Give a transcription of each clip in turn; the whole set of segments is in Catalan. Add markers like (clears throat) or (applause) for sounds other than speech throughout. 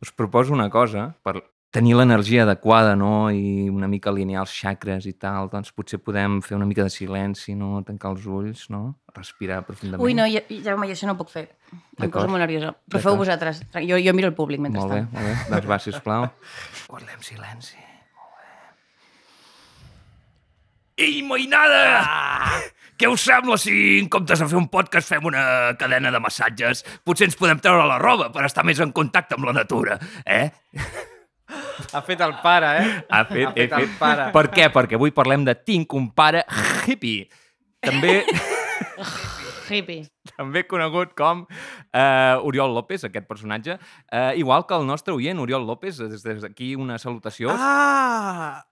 us proposo una cosa per tenir l'energia adequada, no?, i una mica alinear els xacres i tal, doncs potser podem fer una mica de silenci, no?, tancar els ulls, no?, respirar profundament. Ui, no, ja, Jaume, jo això no ho puc fer. Em D'acord. poso molt nerviosa. Però D'acord. feu vosaltres. Jo, jo miro el públic Molt bé, mentrestant. molt bé. Doncs va, (laughs) sisplau. Guardem silenci. Ei, mainada! Ah! Què us sembla si, en comptes de fer un podcast, fem una cadena de massatges? Potser ens podem treure la roba per estar més en contacte amb la natura, eh? Ha fet el pare, eh? Ha fet, Ha he fet el fet. pare. Per què? Perquè avui parlem de Tinc un pare hippie. També, (laughs) Hippie. Eh? també conegut com eh, Oriol López, aquest personatge. Eh, igual que el nostre oient, Oriol López, des des d'aquí una salutació. Ah!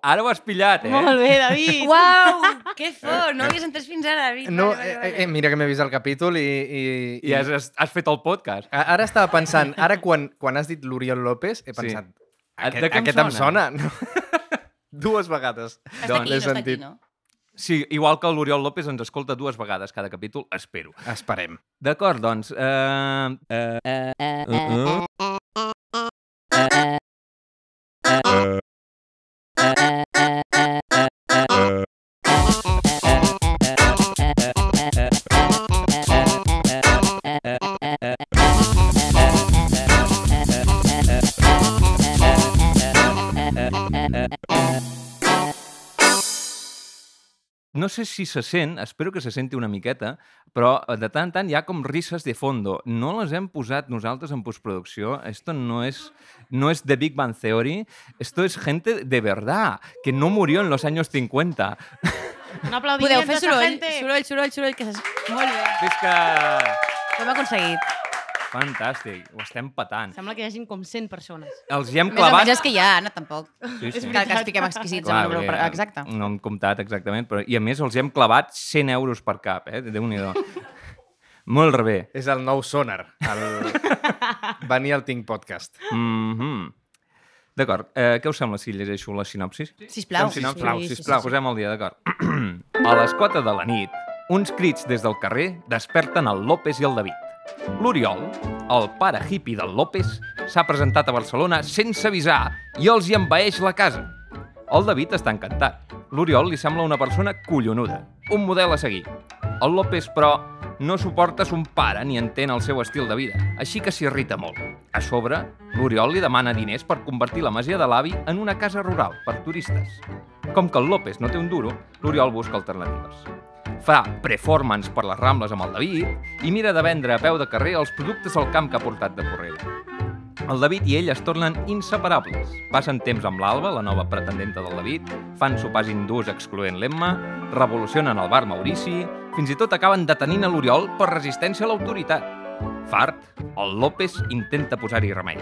Ara ho has pillat, eh? Molt bé, David. (laughs) Uau, que fort! No ho havies entès fins ara, David. No, Vale, eh, vale, eh, mira que m'he vist el capítol i... i, I has, has, has fet el podcast. A- Ara estava pensant, ara quan, quan has dit l'Oriol López, he Sí. pensat, A- de aquest, què em aquest em sona? Ah, sona. no? Dues vegades. vale. Està doncs, aquí, l'he no està aquí, sentit. no? Sí, igual que l'Oriol López ens escolta dues vegades cada capítol, espero. Esperem. D'acord, doncs... Eh, eh, no sé si se sent, espero que se senti una miqueta, però eh, de tant en tant hi ha com risses de fondo. No les hem posat nosaltres en postproducció. Esto no es, no es The Big Bang Theory. Esto es gente de verdad, que no murió en los años 50. Un aplaudiment Podeu fer a esta soroll, tota gente. soroll, soroll, soroll, que s'es... Molt bé. És que... Ho hem aconseguit. Fantàstic, ho estem petant. Sembla que hi hagin com 100 persones. Els hi hem Més o menys clavat... és que ja, Anna, tampoc. Sí, (laughs) És sí. que, que estiguem exquisits. Clar, Mm. amb el bé, grup, exacte. No hem comptat exactament, però... I a més els hi hem clavat 100 euros per cap, eh? (laughs) Déu-n'hi-do. Molt bé. És el nou sonar. (laughs) El... Venir al Tinc Podcast. Mm D'acord, eh, què us sembla si llegeixo la sinopsis? Sisplau. Fem sinopsis? sisplau, Sí, sí, sisplau. sí, sí. Posem el dia, d'acord. (clears throat) A les 4 de la nit, uns crits des del carrer desperten el López i el David. L'Oriol, el pare hippie del López, s'ha presentat a Barcelona sense avisar i els hi envaeix la casa. El David està encantat. L'Oriol li sembla una persona collonuda, un model a seguir. El López, però, no suporta son pare ni entén el seu estil de vida, així que s'irrita molt. A sobre, l'Oriol li demana diners per convertir la masia de l'avi en una casa rural per turistes. Com que el López no té un duro, l'Oriol busca alternatives. Fa performance per les Rambles amb el David i mira de vendre a peu de carrer els productes del camp que ha portat de correu. El David i ell es tornen inseparables. Passen temps amb l'Alba, la nova pretendenta del David, fan sopars hindús excloent l'Emma, revolucionen el bar Maurici, fins i tot acaben detenint a l'Oriol per resistència a l'autoritat. Fart, el López intenta posar-hi remei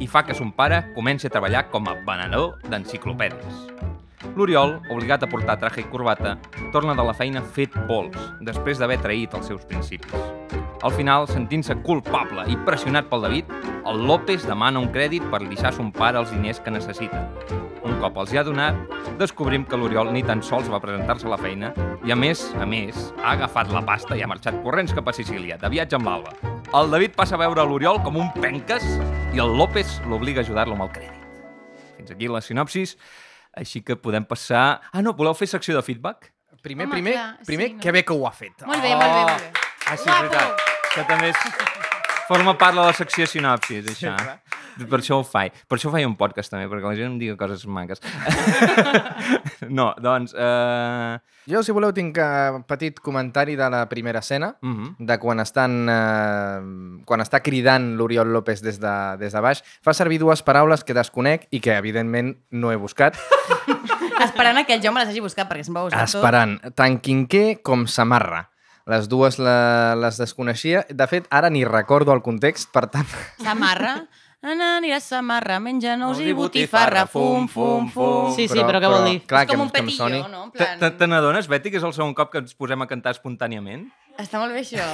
i fa que son pare comenci a treballar com a venedor d'enciclopèdies. L'Oriol, obligat a portar traje i corbata, torna de la feina fet pols, després d'haver traït els seus principis. Al final, sentint-se culpable i pressionat pel David, el López demana un crèdit per deixar son pare els diners que necessita. Un cop els hi ha donat, descobrim que l'Oriol ni tan sols va presentar-se a la feina i, a més, a més, ha agafat la pasta i ha marxat corrents cap a Sicília, de viatge amb l'Alba. El David passa a veure l'Oriol com un penques i el López l'obliga a ajudar-lo amb el crèdit. Fins aquí la sinopsis, així que podem passar... Ah, no, voleu fer secció de feedback? Primer, Home, primer, clar, sí, primer no? que bé que ho ha fet. Molt bé, molt bé, molt bé. Ah, sí, és veritat. Que també és... Forma part de la secció sinopsis, això. Per això ho faig. Per això faig un podcast, també, perquè la gent em digui coses maques. no, doncs... Eh... Jo, si voleu, tinc eh, petit comentari de la primera escena, mhm. de quan estan... Eh, quan està cridant l'Oriol López des de, des de baix. Fa servir dues paraules que desconec i que, evidentment, no he buscat. Esperant a que el Jaume les hagi buscat, perquè sempre ho busca tot. Esperant, tant quinquer com samarra. Les dues la, les desconeixia. De fet, ara ni recordo el context, per tant... Samarra. Anna anirà a Samarra, menja nous Nous i i botifarra, botifarra, fum, fum, fum. Sí, sí, però què vol dir? Clar, és com que, un que em petillo, soni... no? En Te plan... te- te n'adones, Beti, que és el segon cop que ens posem a cantar espontàniament? Està molt bé, això.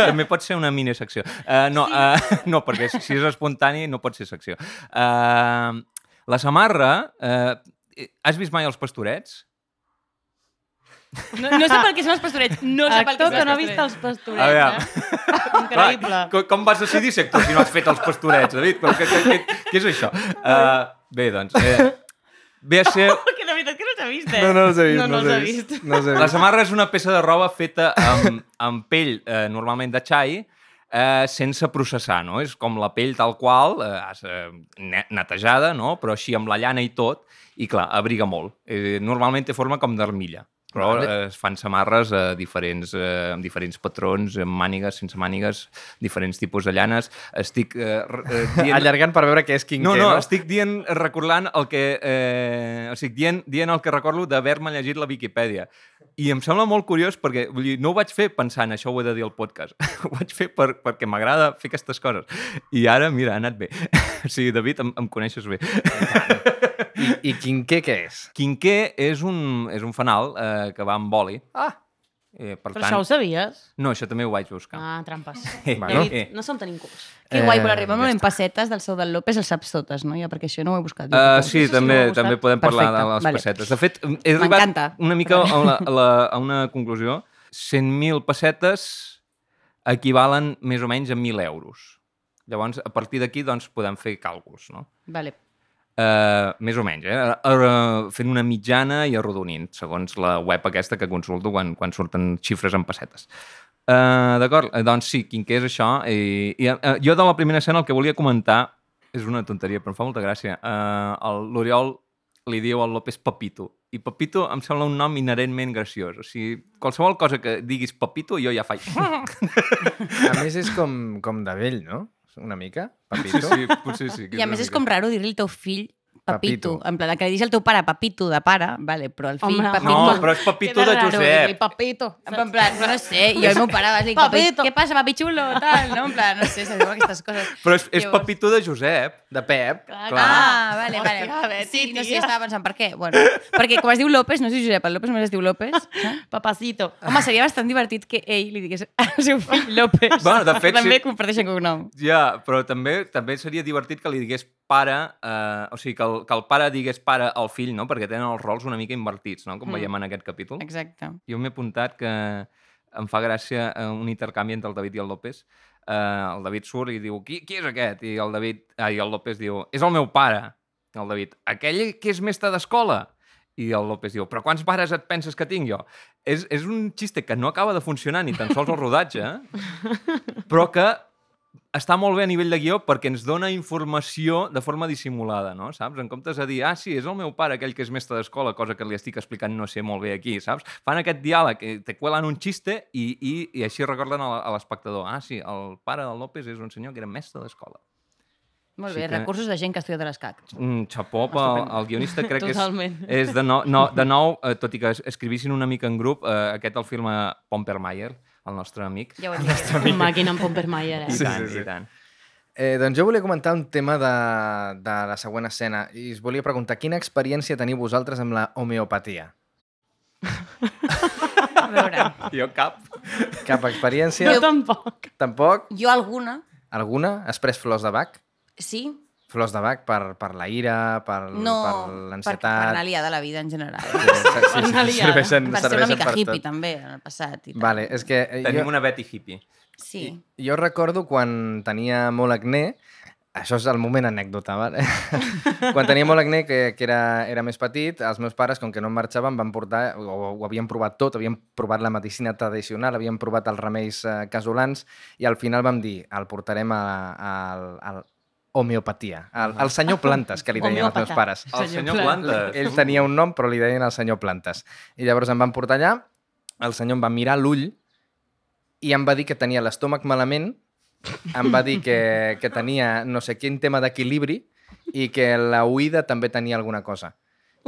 També pot ser una minisecció. Uh, no, sí. uh, no, perquè si és espontani no pot ser secció. Uh, eh, la samarra... Uh, has vist mai els pastorets? No, no sé per què són els pastorets. No sé per què Actor són que no ha pastorets. vist els pastorets, eh? A veure. Increïble. com, com vas decidir ser actor si no has fet els pastorets, David? Però què, què, què, què és això? Uh, bé, doncs... Eh, ve a ser... Perquè de veritat que no t'ha vist, eh? No, no els he vist. No, no, els he els he vist. No els he La vist. samarra és una peça de roba feta amb, (laughs) amb pell, eh, normalment de xai, eh, sense processar, no? És com la pell tal qual, eh, has, eh, ne- netejada, no? Però així amb la llana i tot, i clar, abriga molt. Eh, normalment té forma com d'armilla, però Vale. eh, es fan samarres eh, diferents, eh, amb diferents patrons, amb mànigues, sense mànigues, diferents tipus de llanes. Estic eh, r- eh, dient Allargant per veure què és quin no, què, no, estic dient, recordant el que... Eh, o sigui, dient, dient el que recordo d'haver-me llegit la Viquipèdia. I em sembla molt curiós perquè vull dir, no ho vaig fer pensant, això ho he de dir al podcast. (laughs) ho vaig fer per, perquè m'agrada fer aquestes coses. I ara, mira, ha anat bé. (laughs) o sigui, David, em, em coneixes bé. I, I quin què què és? Quinqué és un, és un fanal eh, que va amb boli. Ah! Eh, per Però tant, això ho sabies? No, això també ho vaig buscar. Ah, trampes. Eh, bueno, David, eh. no som tan incults. Que guai, però Eh, arriba amb l'empassetes del Sau del López, el saps totes, no? Ja, perquè això no ho he buscat. jo, Uh, tampoc. sí, Això sí també, que m'ha també gustat. podem parlar de Perfecte, les vale. pessetes. De fet, he arribat M'encanta. una mica a, la, a, la, a una conclusió. 100.000 pessetes equivalen més o menys a 1.000 euros. Llavors, a partir d'aquí, doncs, podem fer càlculs, no? Vale. Uh, més o menys, eh? Ara, fent una mitjana i arrodonint, segons la web aquesta que consulto quan, quan surten xifres en pessetes. Uh, D'acord, Eh, doncs sí, quin que és això. I, i uh, jo de la primera escena el que volia comentar és una tonteria, però em fa molta gràcia. Uh, el- L'Oriol li diu al López Papito, i Papito em sembla un nom inherentment graciós. O sigui, qualsevol cosa que diguis Papito, jo ja (laughs) faig... A més és com, com de vell, no? Una mica, Sí, papito. sí, potser sí. que I a més una és mica. com raro dir-li al teu fill Papito. Papito. En plan, que li diguis al teu pare Papito de pare, vale, però al fill Home, Papito... No, però és Papito de eh, Josep. Papito. En plan, no sé, jo al meu pare vas dir, Papito. què passa, papi xulo, tal, no? En plan, no sé, se diuen aquestes coses. Però és, és Llavors- Papito de Josep. De Pep. Clar. Ah, vale, vale. Hòstia, Betty, sí, no sé, tia. estava pensant, per què? Bueno, perquè com es diu López, no es diu Josep, el López només es diu López. saps? Papacito. Home, seria bastant divertit que ell li digués al seu fill López. Bueno, de fet, que també sí. comparteixen cognom. Ja, però també també seria divertit que li digués pare, eh, o sigui, que el, que el pare digués pare al fill, no? Perquè tenen els rols una mica invertits, no? Com Mm. mm. veiem en aquest capítol. Exacte. Jo m'he apuntat que em fa gràcia eh, un intercanvi entre el David i el López. Eh, el David surt i diu, qui, qui és aquest? I el, David, ah, i el López diu, és el meu pare. El David, aquell que és mestre d'escola. I el López diu, però quants pares et penses que tinc jo? És, és un xiste que no acaba de funcionar ni tan sols el rodatge, però que està molt bé a nivell de guió perquè ens dona informació de forma dissimulada, no? Saps? En comptes de dir, ah, sí, és el meu pare, aquell que és mestre d'escola, cosa que li estic explicant no sé molt bé aquí, saps? Fan aquest diàleg, eh, te cuelen un xiste i, i, i així recorden a la- a l'espectador, ah, sí, el pare del López és un senyor que era mestre d'escola. Molt Sí bé, que- recursos de gent que ha estudiat a l'ESCAC. Mm, xapó pel el guionista, crec que és... Totalment. És de nou, no, (laughs) de nou eh, tot i que es- escrivissin una mica en grup, eh, aquest el firma Pompermayer, el nostre amic. Ja ho he dit. Màquina amb Pompermayer, eh? I Sí, tant, sí, sí. i tant. Eh, doncs jo volia comentar un tema de, de la següent escena i us volia preguntar quina experiència teniu vosaltres amb la homeopatia? A veure, Jo cap. Cap experiència? Jo tampoc. Tampoc? jo alguna, Alguna? Has pres flors de bac? sí, Flors de bac per, per la ira, per, no... per Per, per l'ansietat... anar liada a la vida en general. Sí, sí, sí, anar liada. serveixen, Va ser una serveixen mica per hippie, tot. també, en el passat. I tal. Vale, és que eh, Tenim jo, una Betty hippie. Sí. Jo recordo quan tenia molt acné, això és el moment anècdota, vale? (laughs) quan tenia molt acné, que, que era, era més petit, els meus pares, com que no em marxaven, van portar, o ho havien provat tot, havien provat la medicina tradicional, havien provat els remeis eh, casolans, i al final vam dir, el portarem a, a, a, a homeopatia, al, al senyor Plantes, que li deien els meus Homeòpata. pares. El senyor Senyor Plantes. Ell tenia un nom, però li deien el senyor Plantes. I llavors em van portar allà, el senyor em va mirar l'ull i em va dir que tenia l'estómac malament, em va dir que, que tenia no sé quin tema d'equilibri i que la oïda també tenia alguna cosa.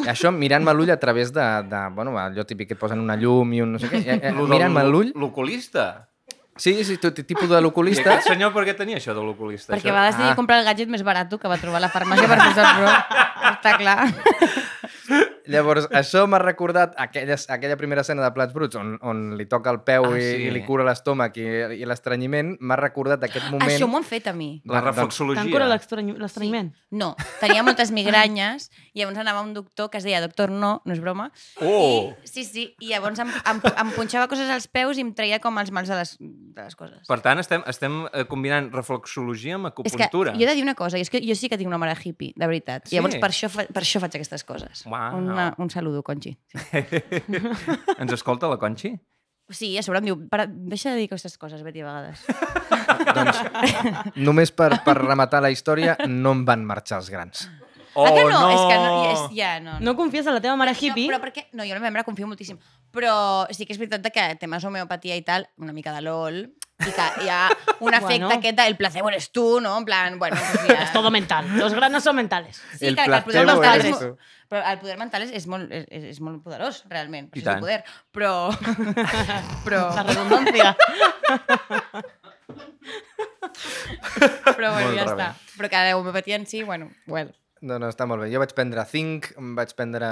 I això mirant-me l'ull a través de, de... Bueno, allò típic que et posen una llum i un no sé què. eh, eh, Lo del Mirant-me l'ull... L'oculista. Sí, sí, tot tipus de I l'oculista. aquest senyor per què tenia això de l'oculista? Perquè Això- va decidir Ah. comprar el gadget més barat que va trobar a la farmàcia per posar-lo. Està clar. Llavors, això m'ha recordat aquella, aquella primera escena de Plats Bruts on, on li toca el peu Ah, i, sí. i li cura l'estómac i, i l'estranyiment. M'ha recordat aquest moment... Això m'ho han fet a mi. Doncs La Tant cura reflexologia. l'estrany- l'estranyiment. No, tenia moltes migranyes i llavors anava a un doctor que es deia doctor no, no és broma. Oh! I, sí, sí, i llavors em, em, em punxava coses als peus i em treia com els mals de les, de les coses. Per tant, estem, estem eh, combinant reflexologia amb és que jo acupuntura. he de dir una cosa, i és que jo sí que tinc una mare hippie, de veritat. Sí? Sí. Llavors per això, fa, per això faig aquestes coses. Uau. Una, un saludo, Conchi. Sí. Ens escolta la Conxi? sí, a sobre em diu, para, deixa de dir aquestes coses, Betty, a vegades. Doncs, només per, per rematar la història, no em van marxar els grans. Oh, ah, que no? És que no, és, ja, no, no. No confies en la teva mare hippie? No, però perquè... No, jo en la meva mare confio moltíssim. Però sí que és veritat que temes homeopatia i tal, una mica de LOL, i que hi ha un efecte (laughs) Bueno. bueno. aquest de el placebo eres tu, no? En plan, bueno, pues mira... Es todo mental. Los granos son mentales. Sí, el El que, que el poder placebo mental és, eres mo- tu. però el poder mental és, és, molt, és, és- és molt poderós, realment. I I tant. tant. És un poder, però... (laughs) però, La redundancia. però bueno, Molt ja rebé. està. Però que la homeopatia en si, bueno, well. No, no, està molt bé. Jo vaig prendre zinc, em vaig prendre...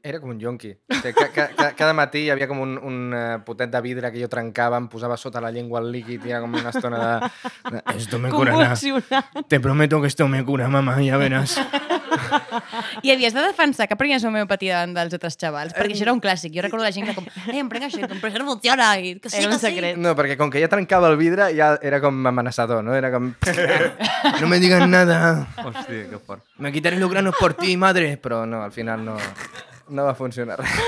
Era com un yonqui. O sigui, ca, ca, ca, cada matí hi havia com un, un eh, potet de vidre que jo trencava, em posava sota la llengua el líquid i era com una estona de... de esto me curará. Convulsionant. Te prometo que esto me cura, mamá, ya verás. I havies de defensar que prenies homeopatia davant dels altres xavals, perquè això era un clàssic. Jo recordo la gent que com, eh, em prenc això, i com, però això no funciona, i que sí, Era que un sí. Eh, secret. No, perquè com que ja trencava el vidre ja era com amenaçador, no? Era com... No me digan nada. Hòstia, que fort. Me quitaré los granos por ti, madre. Però no, al final no, no va funcionar res. (laughs)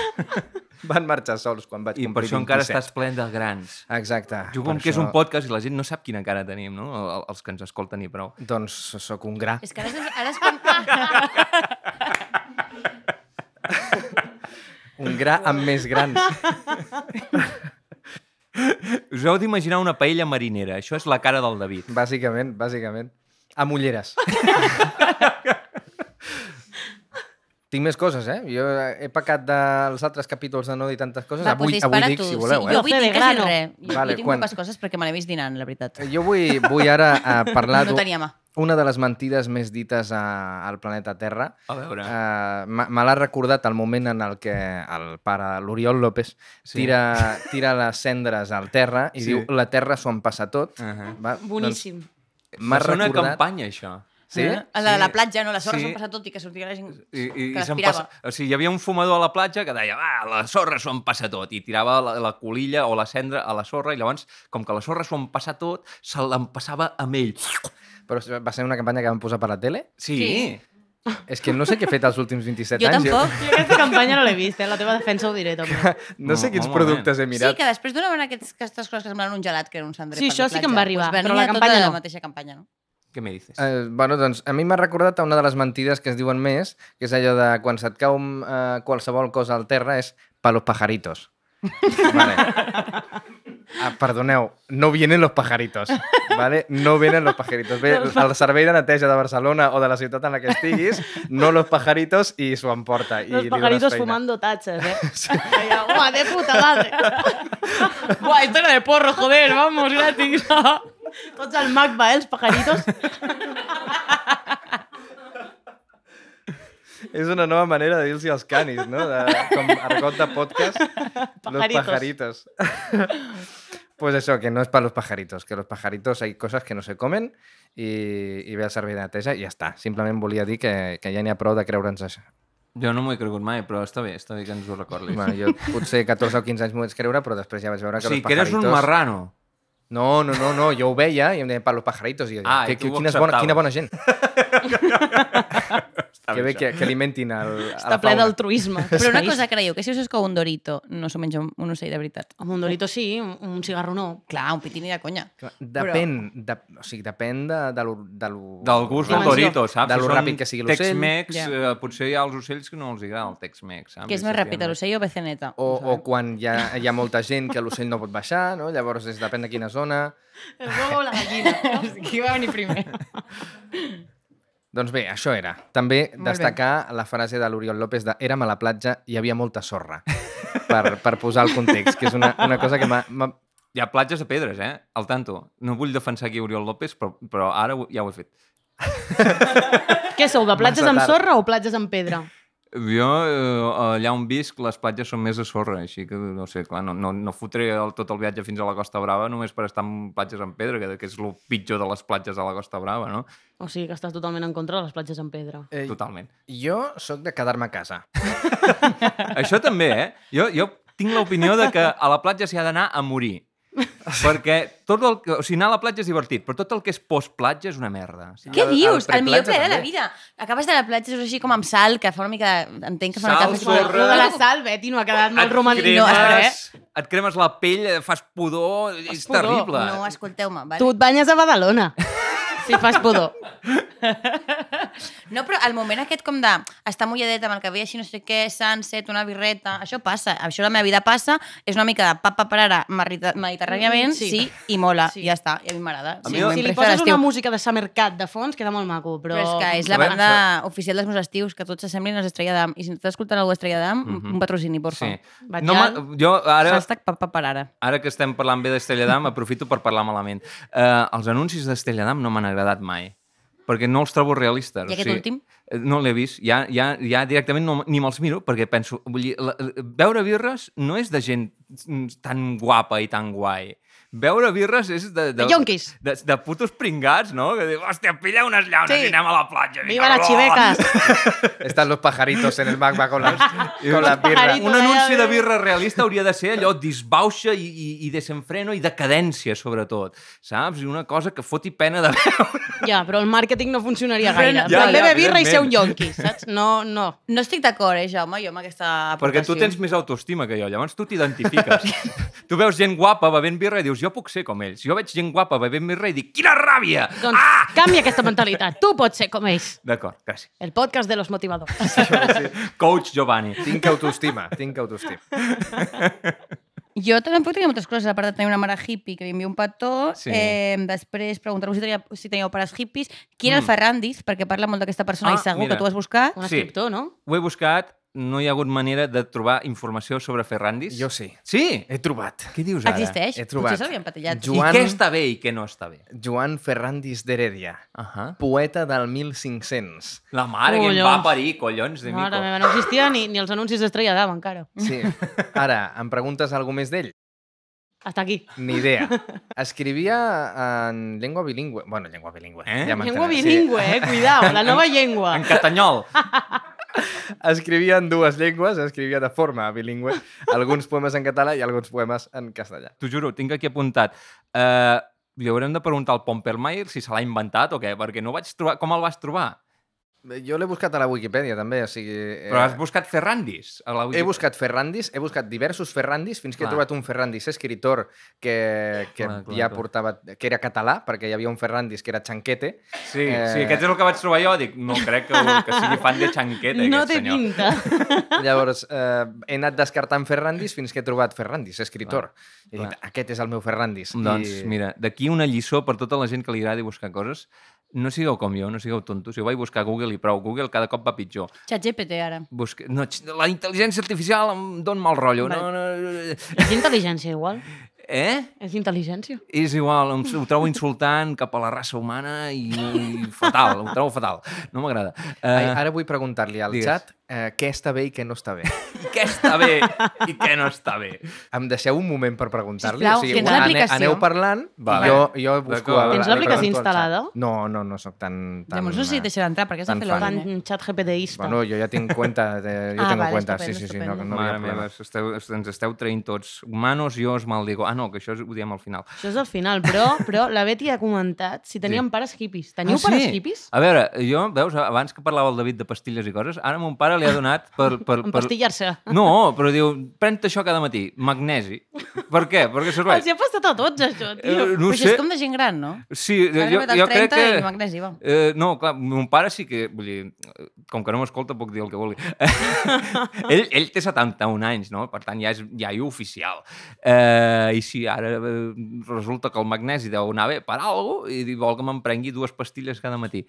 Van marxar sols quan vaig I per complir això encara 27. estàs plen de grans. Exacte. Jugo amb Ah, per que és un això- podcast i la gent no sap quina cara tenim, no? El- el- Els que ens escolten i prou. Doncs sóc un gra. És que ara és, ara és (laughs) quan... Un gra amb més grans. Us heu d'imaginar una paella marinera. Això és la cara del David. Bàsicament, bàsicament. Amb ulleres. Tinc més coses, eh? Jo he pecat dels altres capítols de no dir tantes coses. Va, avui, doncs avui dispara dic, tu. si voleu, sí, eh? Jo avui Fe de dic quasi grano. res. Jo, Vale, jo tinc quan- quan... poques coses perquè me l'he vist dinant, la veritat. Eh, Jo vull, vull ara eh, parlar No d'un- tenia mà. una de les mentides més dites a, al planeta Terra. A veure. Ah. Eh, me me l'ha recordat el moment en el que el pare, l'Oriol López, Sí. tira, tira les cendres al terra i Sí. sí. diu la terra s'ho empassa tot. Ahà. Va, Boníssim. Doncs, M'ha Sona a recordat... campanya, això. Sí? Eh? La de la Sí, platja, no? La sorra sí. sí. s'ho passa tot i que sortia la gent I, i, que i se'n l'aspirava. passa, o sigui, hi havia un fumador a la platja que deia, ah, la sorra s'ho empassa tot, i tirava la, la colilla o la cendra a la sorra, i llavors, com que la sorra s'ho empassa tot, se l'empassava amb ell. Però va ser una campanya que van posar per la tele? Sí. Sí. És que no sé què he fet els últims 27 Jo anys. eh? tampoc. Jo aquesta campanya no l'he vist, eh? La teva defensa ho diré, també. No sé No, quins un productes he Mirat. mirat. Sí, que després donaven aquests, aquestes coses que semblaven un gelat, que era un cendrer Sí, per això la sí que platja. em va arribar, Doncs però la venia campanya tota no. la mateixa campanya, no? Què me dices? Eh, bueno, doncs a mi m'ha recordat a una de les mentides que es diuen més, que és allò de quan se't cau eh, qualsevol cosa al terra és pa los (laughs) pajaritos. vale. Ah, perdoneu, no vienen los pajaritos, ¿vale? No vienen los pajaritos. Ve el servei de neteja de Barcelona o de la ciutat en la que estiguis, no los pajaritos i s'ho emporta. i Los li dones pajaritos feina. fumando tachas, eh? Allà, Buah, de puta madre. Buah, esto era de porro, joder, vamos, gratis. Tots al MACBA, eh, els pajaritos. És una nova manera de dir-los als canis, no? De, com argot de podcast, los Pajaritos. pajaritos. (laughs) pues eso, que no es para los pajaritos, que los pajaritos hay cosas que no se comen i, i ve el servei de neteja i ja està. Simplement volia dir que, que ja n'hi ha prou de creure'ns això. Jo no m'ho he cregut mai, però està bé, està bé que ens ho recordis. Bueno, jo potser 14 o 15 anys m'ho vaig creure, però després ja vaig veure o que sigui, los que eres pajaritos... un marrano. No, no, no, no, jo ho veia i em deien, pa, los pajaritos. I jo, Ah, ah, que, i tu que, ho quines bona, acceptaves. quina bona (laughs) gent. que bé això. que, que alimentin el, a la Està ple fauna. d'altruisme. (laughs) Però una cosa creieu, que si us escou un dorito, no s'ho menja un, un ocell de veritat. Amb un dorito sí, un- un cigarro no. Clar, un pitini de conya. Clar, Depèn, de, o sigui, depèn de, de, lo, de lo... Del gust del Dimensió. Dorito, saps? De lo Si són ràpid que sigui l'ocell. Tex-Mex, Ja. eh, potser hi ha els ocells que no els agrada el Tex-Mex, saps? Que és més ràpid, l'ocell o beceneta? (laughs) O, o quan hi ha, hi ha molta gent que l'ocell no pot baixar, no? Llavors és, depèn de quina zona. El huevo o la gallina. Qui va venir (laughs) primer? Doncs bé, això era. També Molt bé. destacar la frase de l'Oriol López de érem a la platja i hi havia molta sorra. Per, per posar el context, que és una, una cosa que m'ha... m'ha- Hi ha platges de pedres, eh? Al tanto. No vull defensar aquí Oriol López, però, però ara ho- ja ho he fet. (laughs) Què sou, de platges Massa amb tard. sorra o platges amb pedra? Jo, eh, allà on visc, les platges són més a sorra, així que, no sé, clar, no, no, no fotré el, tot el viatge fins a la Costa Brava només per estar en platges en pedra, que, que és el pitjor de les platges a la Costa Brava, no? O sigui que estàs totalment en contra de les platges en pedra. Eh, Totalment. Jo sóc de quedar-me a casa. Això també, eh? Jo, jo tinc l'opinió de que a la platja s'hi ha d'anar a morir. Perquè tot el que... O sigui, anar a la platja és divertit, però tot el que és post-platja és una merda. Sí. Què El- el dius? El, millor preplatja plaer de la també. vida. Acabes de la platja, és així com amb sal, que fa una mica... de- Entenc que fa una Sal, cafè... Bueno, sorra. lo de la sal, Beti, no ha quedat molt romàntic. No, espera, eh? et cremes la pell, eh, fas pudor, és pudor, terrible. No, escolteu-me, vale? Tu et banyes a Badalona. si fas pudor. No, però el moment aquest com de estar mulladeta amb el cabell així, no sé què, sunset, una birreta, això passa, això a la meva vida passa, és una mica de papa parara medita- mediterràniament, Mm, sí. sí. sí, i mola, Sí. sí. ja està, i a mi m'agrada. A Sí, mi- ho si li emprenc a poses l'estiu. una música de Samercat de fons, queda molt maco, però... Però és que és la Sabem banda oficial dels meus estius, que tots s'assemblin a les Estrella d'Am. I si estàs escoltant algú d'Estrella d'Am, un patrocini, porfa. Mhm. Sí. Sí. No, Batxan. ma- jo ara... Hashtag papa parara. Ara que estem parlant bé d'Estelladam, aprofito per parlar malament. Eh, els anuncis d'Estelladam no m'han agradat mai, perquè no els trobo realistes. I aquest últim? eh, No l'he vist, ja, ja, ja directament no, ni me'ls miro, perquè penso... Vull dir, la, la- veure birres no és de gent mm, tan guapa i tan guai. Veure birres és de... De, De yonquis. De, de putos pringats, no? Que diu, hòstia, pilla unes llaunes sí. Sí. i anem a la platja. Viva las chivecas! Están los pajaritos en el magma (laughs) con las, con las birras. pajaritos. Un Todavía anunci de ve. birra realista hauria de ser allò disbauxa i, i, i desenfreno i decadència, sobretot. Saps? I una cosa que foti pena de veure. (laughs) ja, però el màrqueting no funcionaria gaire. Ja, ja, Ja, Bebe birra i ser un evidentment. yonqui, saps? No, no. No estic d'acord, eh, Jaume, jo amb aquesta aportació. Perquè Ah, tu tens més autoestima que jo, llavors tu (laughs) t'identifiques. tu veus gent guapa bevent birra i dius, jo puc ser com ells. Jo veig gent guapa bevent birra i dic, quina ràbia! Doncs ah! canvia aquesta mentalitat. Tu pots ser com ells. D'acord, gràcies. El podcast de los motivadors. Coach Giovanni. Tinc autoestima, tinc autoestima. Jo també puc tenir moltes coses, a part de tenir una mare hippie que li envia un petó, Sí. sí. eh, després preguntar-vos si, tenia, si teníeu pares hippies, qui era mm. el Ferran Diz, perquè parla molt d'aquesta persona Ah, ah, i segur mira. mira. que tu vas buscar. Un Sí. escriptor, no? Ho he buscat, no hi ha hagut manera de trobar informació sobre Ferrandis? Jo sí. Sí? He trobat. Què dius ara? Existeix? he trobat. Potser s'havien patellat. I Jo... Joan- què està bé i què no està bé? Joan Ferrandis d'Heredia, Uh -huh. poeta del 1500. La mare que em va Collons. parir, collons de Mare mico. meva, no existia ni, ni els anuncis d'Estrella d'Am, encara. (laughs) Sí. Ara, em preguntes alguna més d'ell? Hasta aquí. Ni idea. Escrivia en llengua bilingüe. Bueno, llengua bilingüe. Eh? Llengua m'enteneu. bilingüe, eh? Cuidao, la nova (laughs) llengua. En catanyol. Sí. Escrivia en dues llengües, escrivia de forma bilingüe, alguns poemes en català i alguns poemes en castellà. T'ho juro, ho tinc aquí apuntat. Uh, li haurem de preguntar al Pompermeier si se l'ha inventat o què, perquè no vaig trobar... Com el vas trobar? Jo l'he buscat a la Wikipedia, també, o sigui... eh, Però has buscat Ferrandis? A la He buscat Ferrandis, he buscat diversos Ferrandis, fins que Clar. he trobat un Ferrandis escritor que, que Clar, clar, ja clar. portava... que era català, perquè hi havia un Ferrandis que era xanquete. Sí, eh... Eh. sí, aquest és el que vaig trobar jo. Dic, no crec que, que sigui fan de xanqueta, No aquest té senyor. pinta. Llavors, eh, he anat descartant Ferrandis fins que he trobat Ferrandis, escritor. I he dit, clar. aquest és el meu Ferrandis. Doncs I... mira, d'aquí una lliçó per tota la gent que li agradi buscar coses. No sigueu com jo, no sigueu tontos. Jo vaig buscar a Google i prou. Google cada cop va pitjor. Xat GPT, ara. Busca... No, x- la intel·ligència artificial em dona mal rotllo. No, Vale. no, no. És intel·ligència, igual. Eh? És intel·ligència. És igual, em, ho trobo insultant cap a la raça humana i, i fatal, ho trobo fatal. No m'agrada. Ai, Uh, ara vull preguntar-li al digues. xat eh, què està bé i què no està bé. què està bé i què no està bé? Em deixeu un moment per preguntar-li? Sisplau, tens ane- l'aplicació? Aneu parlant, Vale. vale. jo, jo busco... D'acord. a- Tens a- l'aplicació pregunto al xat. instal·lada? No, no, no sóc tan... tan Llavors no sé si et deixarà entrar, perquè has de Tan fer fan. l'ordre. Fan xat GPTista. Bueno, jo ja tinc cuenta, de, jo Ah, tengo vale, cuenta, sí, estupendo, sí, sí, no, estupendo. no hi No ha Mare problema. meva, esteu, ens esteu traint tots. Humanos, jo os maldigo. Ah, no, que això ho diem al final. Això és el final, però, però la Betty ha comentat si teníem pares hippies. Teniu ah, pares hippies? A veure, jo, veus, abans que parlava el David de pastilles i coses, ara mon pare li ha donat (laughs) per... per, per... Empastillar-se. No, però diu, pren-te això cada matí, magnesi. Per què? Perquè serveix. Els hi ha passat a tots, això, tio. Eh, no No ho però això sé. és com de gent gran, no? Sí, Ha jo, arribat al jo crec 30 que... i magnesi, va. Eh, no, clar, mon pare sí que... Vull dir, eh, com que no m'escolta, puc dir el que vulgui. ell, ell té 71 anys, no? Per tant, ja és iaio oficial. Eh, I sí, ara eh, resulta que el magnesi deu anar bé per alguna cosa i dir, vol que me'n prengui dues pastilles cada matí.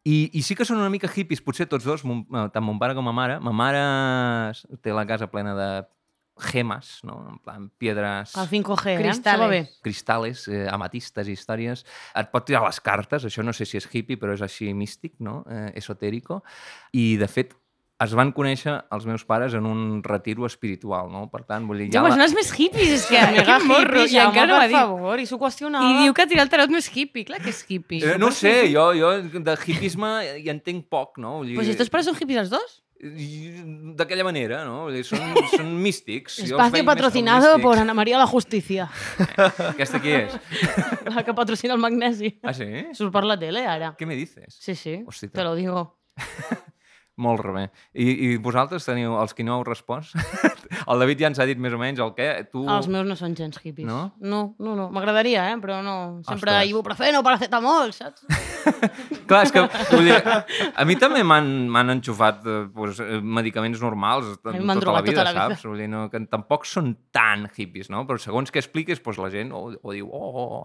I, I sí que són una mica hippies, potser tots dos, mon, eh, tant mon pare com ma mare. Ma mare té la casa plena de gemes, no? En plan, piedres El 5G, eh? Això Cristales. va bé. cristales, eh, amatistes i històries. Et pot tirar les cartes, això no sé si és hippie, però és així místic, no? Eh, esotérico. I, de fet, es van conèixer els meus pares en un retiro espiritual, no? Per tant, vull dir, Jaume, són els més hippies, és que... Mega Quin morro, i hippie, Jaume, encara no ho ha per dit. favor, i s'ho qüestionava. I diu que tirar el tarot no és hippie, clar que és hippie. Eh, no ho sé, jo, jo de hipisme hi entenc poc, no? Vull dir, Pues estos pares són hippies els dos. i- D'aquella manera, no? Vull dir, són, són místics. jo els veig Espacio més com patrocinado místics. por Ana María la (laughs) Justicia, Aquesta qui és? la que patrocina el magnesi. Ah, sí? Surt per la tele, ara. Què me dices? Sí, sí, Hòstia. te lo digo. Molt rebé. I, I vosaltres teniu, els que no heu respost? (laughs) el David ja ens ha dit més o menys el què. Tu... Els meus no són gens hippies. Uh. No? No, no, no. M'agradaria, eh? Però no. Sempre Ostres. ibuprofeno, paracetamol, saps? Clar, és que vull dir, a mi també m'han m'han enxufat eh, doncs, eh, medicaments normals A tota mi la, m'han drogat vida, tota la vida. saps? Vull dir, no, que tampoc són tan hippies, no? Però segons que expliques, doncs, la gent o, o diu, oh, oh,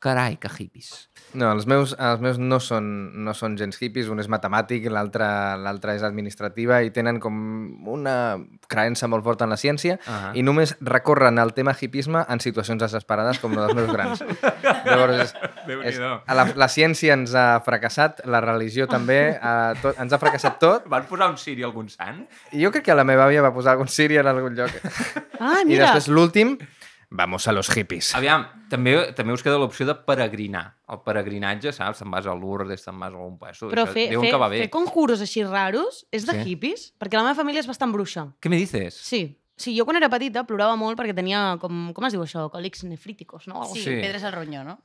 carai, que hippies. No, els meus, els meus no, són, no són gens hippies, un és matemàtic, l'altre l'altre és administrativa i tenen com una creença molt forta en la ciència Ah. i només recorren al tema hipisme en situacions desesperades com la dels meus (laughs) grans. Llavors, és, és, Déu-n'hi-do. la, la ciència ens ha fracassat, la religió també, eh, tot, ens ha fracassat tot. Van posar un ciri a algun sant? I Jo crec que la meva àvia va posar algun siri en algun lloc. Ah, I mira. després l'últim, vamos a los hippies. Aviam, també, també us queda l'opció de peregrinar. El peregrinatge, saps? Te'n vas a Lourdes, te'n vas a algun passo. Però Això fer, diuen fer, que va bé. fer conjuros així raros és de Sí. hippies? Perquè la meva família és bastant bruixa. Què me dices? Sí. Sí, jo quan era petita plorava molt perquè tenia, com, com es diu això, còlics nefríticos, no? Algo Sí, Sí. pedres al ronyó, no?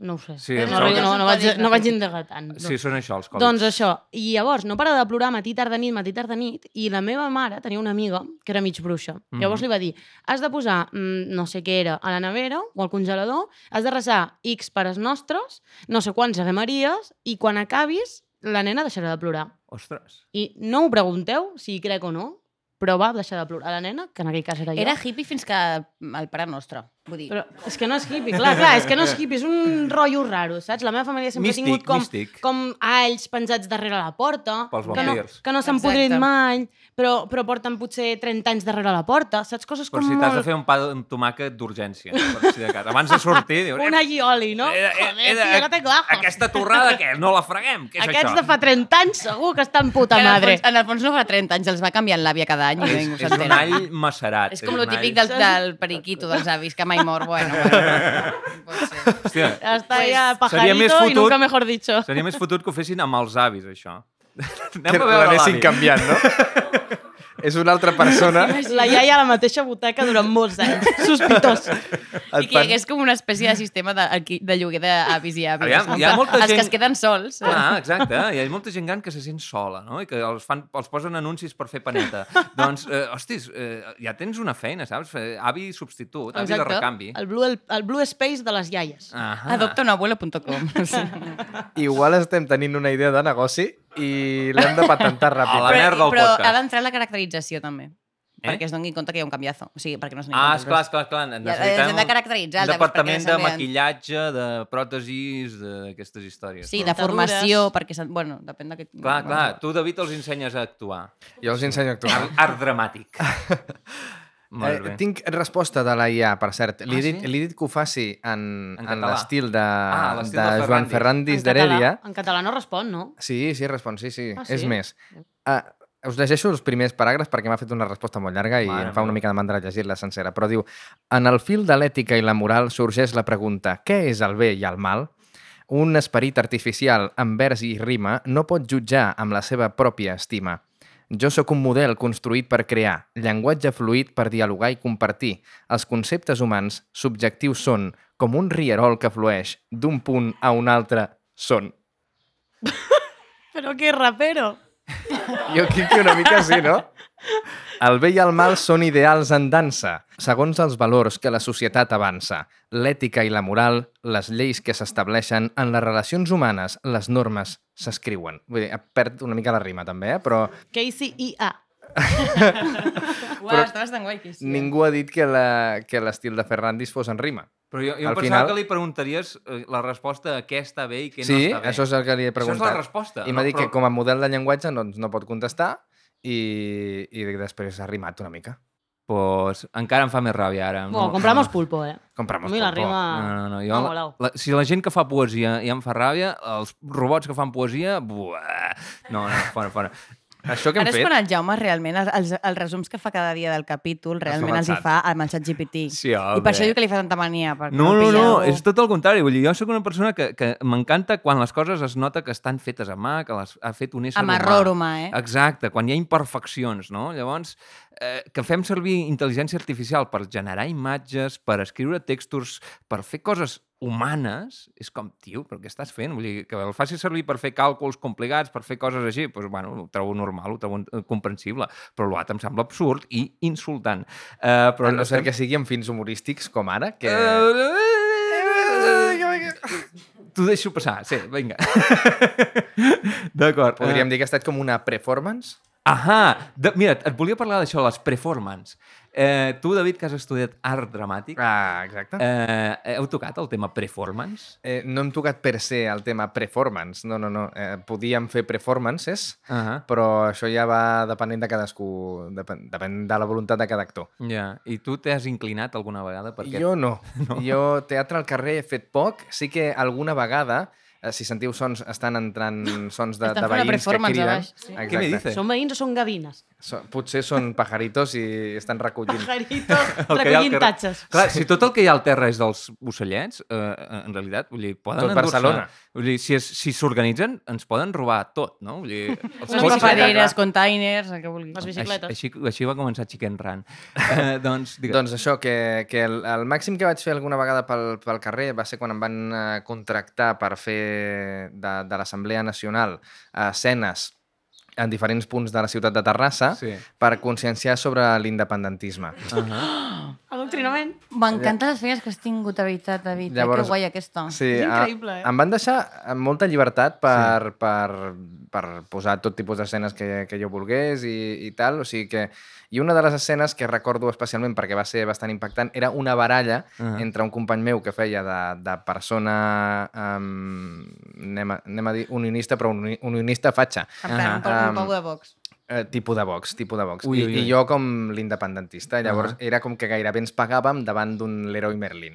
No ho sé. Sí, no, em no, sembla no, que no, són vaig, còlics no vaig nefrítics. indagar tant. no. Sí, són això, els còlics. Doncs això. I llavors no parava de plorar matí, tarda, nit, matí, tarda, nit. I la meva mare tenia una amiga que era mig bruixa. Mhm. Llavors li va dir, has de posar mm, no sé què era a la nevera o al congelador, has de resar X pares nostres, no sé quants Ave Maries, i quan acabis la nena deixarà de plorar. Ostres. I no ho pregunteu si hi crec o no, però va deixar de plorar la nena, que en aquell cas era jo. Era hippie fins que mm, el pare nostre. Vull dir, Però és que no és hippie, clar, clar, és que no és hippie, és (laughs) un rotllo raro, saps? La meva família sempre Místic, ha tingut com, místic. com alls penjats darrere la porta, Pels que no, vampirs. que no s'han Exacte. podrit mai, però, però porten potser 30 anys darrere la porta, saps? Coses Per com si t'has de molt... fer un pa amb tomàquet d'urgència, per si de cas. Abans de sortir, dius... Un aguioli, no? "Eh, eh, eh, Joder, eh, tio, que tengo ajo. Aquesta torrada, què? No la freguem? Què és Aquests això? de fa 30 anys segur que estan puta que en, el madre. fons, en el fons no fa 30 anys, els va canviant l'àvia cada any i ningú Ah, És un s'entén. all macerat. És com un lo típic all- del, del periquito dels avis, que mai mor. (laughs) Bueno, bueno, pot ser. Hòstia, Està Pues, ja seria més pajarito i fotut- nunca mejor dicho. seria més fotut que ho fessin amb els avis, això. Anem Que a veure l'anessin l'avi. canviant, no? (laughs) és una altra persona. La iaia a la mateixa butaca durant molts anys. Sospitós. I que hi hagués com una espècie de sistema de, alqui- de lloguer d'avis i àvies. Aviam, hi ha En plan, molta Els que gent- Ah. es queden sols. eh? Clar, exacte. Hi ha molta gent gran que se sent sola, no? I que els, fan, els posen anuncis per fer paneta. doncs, eh, hostis, eh, ja tens una feina, saps? Eh, Avi substitut, avi de recanvi. El blue, el, el blue space de les iaies. Ahà. Ah, (laughs) Adoptaunabuela.com. Sí. Igual estem tenint una idea de negoci i l'hem de (laughs) patentar A la ràpid. Hola. merda del però podcast. ha d'entrar la caracterització, també. Eh? Perquè es doni compte que hi ha un canviazo. O sigui, perquè no es doni Ah, compte, esclar, esclar, esclar. Ja, eh, Necessitem s'han de caracteritzar, Un llavors, departament perquè de s'han de- maquillatge, de pròtesis, d'aquestes històries. Sí, no? de Dentadures. formació, perquè... s'ha- Bueno, depèn de... Que... Clar, clar, tu, David, els ensenyes a actuar. Jo els ensenyo a actuar. Art, art (laughs) dramàtic. Molt bé. Eh, tinc resposta de la IA, per cert. Li Ah, he dit, sí? li he dit que ho faci en, En en, català. l'estil de, Ah, l'estil de, de Joan Ferrandis. Ferrandis En català- d'Heredia. En català no respon, no? Sí, sí, respon, sí, sí. Ah, És sí? més. Ah, us llegeixo els primers paràgrafs perquè m'ha fet una resposta molt llarga i Mare em fa una meva. mica de mandra llegir-la sencera, però diu En el fil de l'ètica i la moral sorgeix la pregunta què és el bé i el mal? Un esperit artificial amb vers i rima no pot jutjar amb la seva pròpia estima. Jo sóc un model construït per crear, llenguatge fluid per dialogar i compartir. Els conceptes humans subjectius són com un rierol que flueix d'un punt a un altre són. Però que rapero. Jo crec que una mica sí, no? El bé i el mal són ideals en dansa, segons els valors que la societat avança, l'ètica i la moral, les lleis que s'estableixen en les relacions humanes, les normes s'escriuen. Vull dir, perd una mica la rima també, eh? però KCIA. Uau, però... està bastant guai, eh? aquí, sí. eh? ningú ha dit que la- que l'estil de Ferrandis fos en rima. Però jo, jo Al em pensava final- que li preguntaries eh, la resposta a què està bé i què sí, no està bé. això és el que li he Això és preguntat. la resposta. I m'ha no? dit que com a model de llenguatge doncs, no pot contestar i, i després ha rimat una mica. Pues, encara em fa més ràbia, ara. Bueno, compramos pulpo, eh? A Compramos mi la pulpo. rima... Ah, No, no, no. Jo, m'ha la, molat. la, si la gent que fa poesia ja em fa ràbia, els robots que fan poesia... Buah, no, no, fora, fora. Això que hem Ara és fet... quan el Jaume realment, els, els, els resums que fa cada dia del capítol, realment els hi fa amb el xat GPT. Sí, I per això home. diu que li fa tanta mania. perquè No, no, pilla no, algú. és tot el contrari. Vull dir, jo sóc una persona que, que m'encanta quan les coses es nota que estan fetes a mà, que les ha fet un ésser Amb error humà, eh? Exacte, quan hi ha imperfeccions, no? Llavors, eh, que fem servir intel·ligència artificial per generar imatges, per escriure textos, per fer coses humanes, és com, tio, però què estàs fent? Vull dir, que el facis servir per fer càlculs complicats, per fer coses així, doncs, bueno, ho trobo normal, ho trobo eh, comprensible, però l'altre em sembla absurd i insultant. Eh, però A no eh, ser que sigui amb fins humorístics, com ara, que... Eh, T'ho deixo passar, sí, vinga. D'acord. Podríem dir que ha estat com una performance. Ahà! De, mira, et volia parlar d'això, les performance. Eh, tu, David, que has estudiat art dramàtic, Ah, exacte. eh, heu tocat el tema performance? Eh, no hem tocat per se el tema performance, no, no, no. Eh, podíem fer performances, Ahà. però això ja va depenent de cadascú, depen, depèn de la voluntat de cada actor. Ja. I tu t'has inclinat alguna vegada per aquest... Jo no. (laughs) no. Jo teatre al carrer he fet poc. Sí que alguna vegada, eh, si sentiu sons, estan entrant sons de, Estan de fent una veïns que performance a criden. baix, sí. Exacte. Què me dices? Són veïns o són gavines? (laughs) So, potser són pajaritos i estan recollint. Jarito, El que hi ha al recollint carrer. tatxes. Clar, si tot el que hi ha al terra és dels ocellets, eh, en realitat, vull dir, poden Tot endur-se- Barcelona. Vull dir, si es- si s'organitzen, si ens poden robar tot, no? Vull (laughs) dir, els pots- Unes Pots- papereres, containers, el que vulguis. Les Així, bicicletes. així, així va començar Chicken (laughs) Run. Eh, doncs, digues. Doncs això, que, que el, el màxim que vaig fer alguna vegada pel, pel carrer va ser quan em van eh, contractar per fer de, de l'Assemblea Nacional eh, escenes en diferents punts de la ciutat de Terrassa Sí. per conscienciar sobre l'independentisme. Adoctrinament. M'encanten les feines que has tingut, de veritat, David. eh? Llavors- Que guai aquesta. Sí, És a- increïble, eh? Em van deixar amb molta llibertat per, sí. per, per posar tot tipus d'escenes que, que jo volgués i, i tal. O sigui que... I una de les escenes que recordo especialment perquè va ser bastant impactant era una baralla uh Ah. -huh. entre un company meu que feia de, de persona... Um, anem, a, anem a dir unionista, però un, unionista fatxa. En plan, Ahà. un poc- un Um, poc de box. Eh, tipus de Vox, tipus de Vox. Ui, I, ui, ui. Ah. I jo com l'independentista. Llavors uh Ahà. -huh. era com que gairebé ens pagàvem davant d'un l'heroi Merlin.